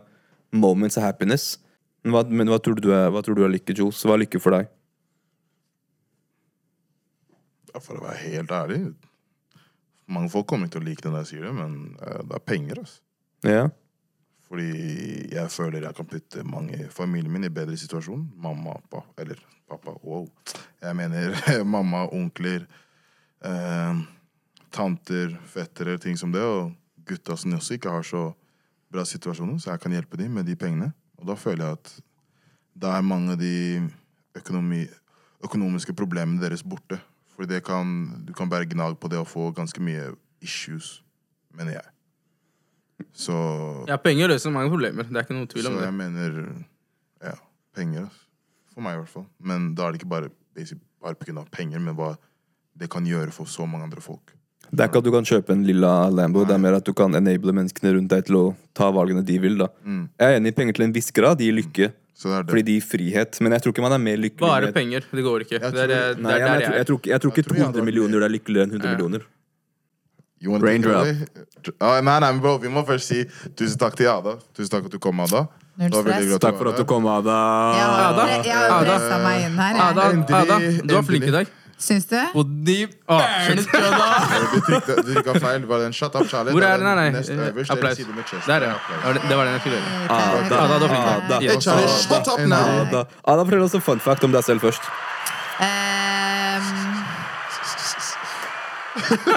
Speaker 1: moments of happiness. Men hva, men hva tror du du er, hva tror du er lykke, Jules? Hva er lykke for deg?
Speaker 3: Ja, For å være helt ærlig Mange folk kommer ikke til å like det når jeg sier det, men eh, det er penger. ass.
Speaker 1: Ja.
Speaker 3: Fordi jeg føler jeg kan putte mange i familien min i bedre situasjon. Mamma, pappa, eller pappa, wow. Jeg mener mamma, onkler, eh, tanter, fettere, ting som det. Og gutta som også ikke har så bra situasjoner, så jeg kan hjelpe dem med de pengene. Og da føler jeg at da er mange av de økonomi, økonomiske problemene deres borte. For det kan, du kan bære gnag på det å få ganske mye issues, mener jeg. Så
Speaker 2: Ja, penger løser mange problemer. Det er ikke noe tvil om
Speaker 3: så
Speaker 2: det.
Speaker 3: jeg mener ja, penger. ass. For meg, i hvert fall. Men da er det ikke bare, basic, bare på grunn av penger, men hva det kan gjøre for så mange andre folk.
Speaker 1: Det er ikke at du kan kjøpe en lilla Lambo, det er mer at du kan enable menneskene rundt deg til å ta valgene de vil. da. Jeg er enig i penger til en viss grad gir lykke,
Speaker 3: Mm. Så det er det.
Speaker 1: fordi det gir frihet. Men jeg tror ikke man er mer lykkelig
Speaker 2: Mm. Bare
Speaker 1: med-
Speaker 2: penger. Det går ikke.
Speaker 3: Jeg
Speaker 2: Det er, det,
Speaker 3: tror-
Speaker 1: Nei,
Speaker 2: det er
Speaker 1: men
Speaker 2: der
Speaker 1: jeg, tror,
Speaker 2: jeg
Speaker 1: jeg,
Speaker 2: er.
Speaker 1: tror, ikke- jeg tror ikke
Speaker 3: Jeg tror jeg hadde
Speaker 1: 200 millioner er lykkeligere enn 100 millioner.
Speaker 3: You wanna
Speaker 1: Brain
Speaker 3: take it
Speaker 1: drop.
Speaker 3: away? Ja, nei, nei, men bro, vi må først si tusen takk til Ada. Tusen takk at du kom, Ada. Eh,
Speaker 4: Null
Speaker 3: Det var veldig
Speaker 4: stress.
Speaker 3: hyggelig
Speaker 1: Takk for
Speaker 3: var
Speaker 1: at du
Speaker 3: her.
Speaker 1: kom,
Speaker 4: Jeg har,
Speaker 1: Ah, Ada.
Speaker 2: Ada?
Speaker 4: pre- jeg har
Speaker 2: Ada?
Speaker 4: pressa meg inn her.
Speaker 2: Ada,
Speaker 4: Jeg.
Speaker 3: Endelig,
Speaker 2: Ada, du var flink i
Speaker 3: endelig.
Speaker 2: dag.
Speaker 4: Syns du?
Speaker 2: Bodde- Å, shit.
Speaker 3: Du trykte- Du trykka feil. Bare den shut up, Charlie.
Speaker 2: Hvor
Speaker 3: Det
Speaker 2: er den? Nei,
Speaker 3: nest
Speaker 2: nei.
Speaker 3: øverst, eller
Speaker 2: Applaus.
Speaker 3: side med chest.
Speaker 2: Der, ja.
Speaker 3: Applaus.
Speaker 2: Ja, Det det var den jeg skulle
Speaker 1: Ah,
Speaker 2: gjøre.
Speaker 4: Ada,
Speaker 2: Ada, du var flink.
Speaker 1: Ada.
Speaker 2: Yes.
Speaker 3: Hey, Charlie, shut up now!
Speaker 1: Ada, Ada fortell oss en fun fact om deg selv først.
Speaker 4: Ehm.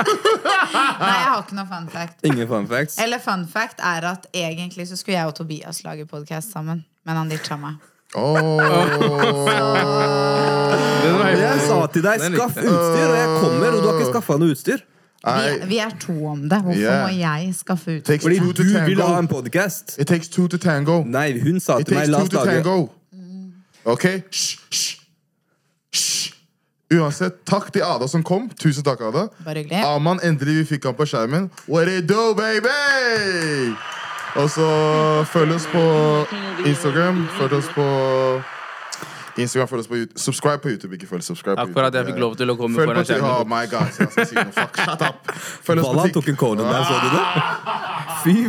Speaker 4: Nei, jeg har ikke noe fun fact.
Speaker 1: Ingen fun facts.
Speaker 3: Eh,
Speaker 4: Eller fun fact er at egentlig så skulle jeg og Tobias lage podkast sammen, men han ditcha meg.
Speaker 3: Åh.
Speaker 2: Den var helt-
Speaker 1: Jeg sa til deg 'skaff utstyr', og jeg kommer, og du har
Speaker 3: Eh,
Speaker 1: ikke skaffa noe utstyr.
Speaker 4: Vi, vi er to om det. Hvorfor
Speaker 3: Yeah.
Speaker 4: må jeg skaffe ut?
Speaker 3: Takes
Speaker 1: Fordi
Speaker 3: two
Speaker 1: du
Speaker 3: to
Speaker 1: vil ha en
Speaker 3: tango.
Speaker 1: podkast.
Speaker 3: It takes two to tango.
Speaker 1: Nei, hun sa
Speaker 3: It
Speaker 1: til meg
Speaker 3: takes
Speaker 1: la
Speaker 3: two
Speaker 1: oss
Speaker 3: to
Speaker 1: lage
Speaker 3: tango. Ok? Hysj, hysj. Hysj. Uansett, takk til Ada som kom. Tusen takk, Ada.
Speaker 4: Bare hyggelig.
Speaker 3: Aman, endelig vi fikk han på skjermen. What it do, baby? Og så følg oss på Instagram. Følg oss på Instagram, følg oss på YouTube. Subscribe på YouTube, ikke følg subscribe på
Speaker 2: Akkurat
Speaker 3: YouTube.
Speaker 2: jeg fikk lov til å komme
Speaker 3: Følg
Speaker 2: foran
Speaker 3: på
Speaker 2: skjermen.
Speaker 3: Oh my god, jeg skal si noe. Fuck, shut up. Følg oss på
Speaker 1: Balla
Speaker 3: TikTok.
Speaker 1: tok en corner der, så du det?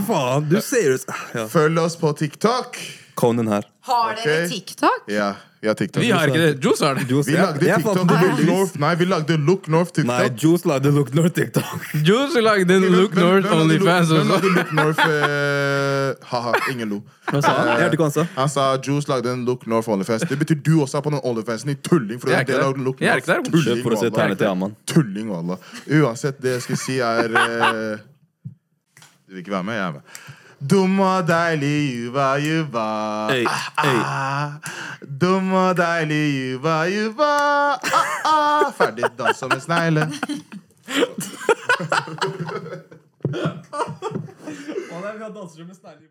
Speaker 1: Fy faen, du ser ut Ah, ja.
Speaker 3: Følg oss på TikTok.
Speaker 1: Conan her.
Speaker 4: Har dere
Speaker 3: Ok.
Speaker 4: TikTok?
Speaker 3: Ja, vi har TikTok.
Speaker 2: Vi har ikke det. Juice har det.
Speaker 1: Juice,
Speaker 3: Vi lagde TikTok Look North. Nei, vi lagde Look North TikTok.
Speaker 1: Nei, Juice lagde Look North TikTok.
Speaker 2: Juice lagde en
Speaker 3: Hvem-
Speaker 2: Look
Speaker 3: hvem-
Speaker 2: North
Speaker 3: hvem lagde
Speaker 2: Onlyfans
Speaker 3: Look- hvem
Speaker 2: også.
Speaker 3: lagde Look North eh, Haha, ingen lo.
Speaker 1: Jeg hørte ikke hva han sa.
Speaker 3: Han sa Juice lagde en Look North Onlyfans. Det betyr du også er på den Onlyfansen, i tulling. For
Speaker 2: Jeg
Speaker 3: det
Speaker 2: er
Speaker 3: er
Speaker 2: ikke
Speaker 3: del
Speaker 2: der.
Speaker 3: av Look
Speaker 2: Jeg er
Speaker 3: North.
Speaker 2: ikke der.
Speaker 1: Kjøp for å se
Speaker 3: Tulling,
Speaker 1: tærne
Speaker 3: wallah.
Speaker 1: til Aman.
Speaker 3: Tulling, wallah. Uansett, det jeg skal si, er eh, Du vil ikke være med? Jeg er med. Dum og deilig juba juba.
Speaker 1: Hey, hey.
Speaker 3: Ah, Dum og deilig juba juba. Ah, ah. Ferdig dansa med snegle.
Speaker 5: Å nei, vi har dansere med snegler.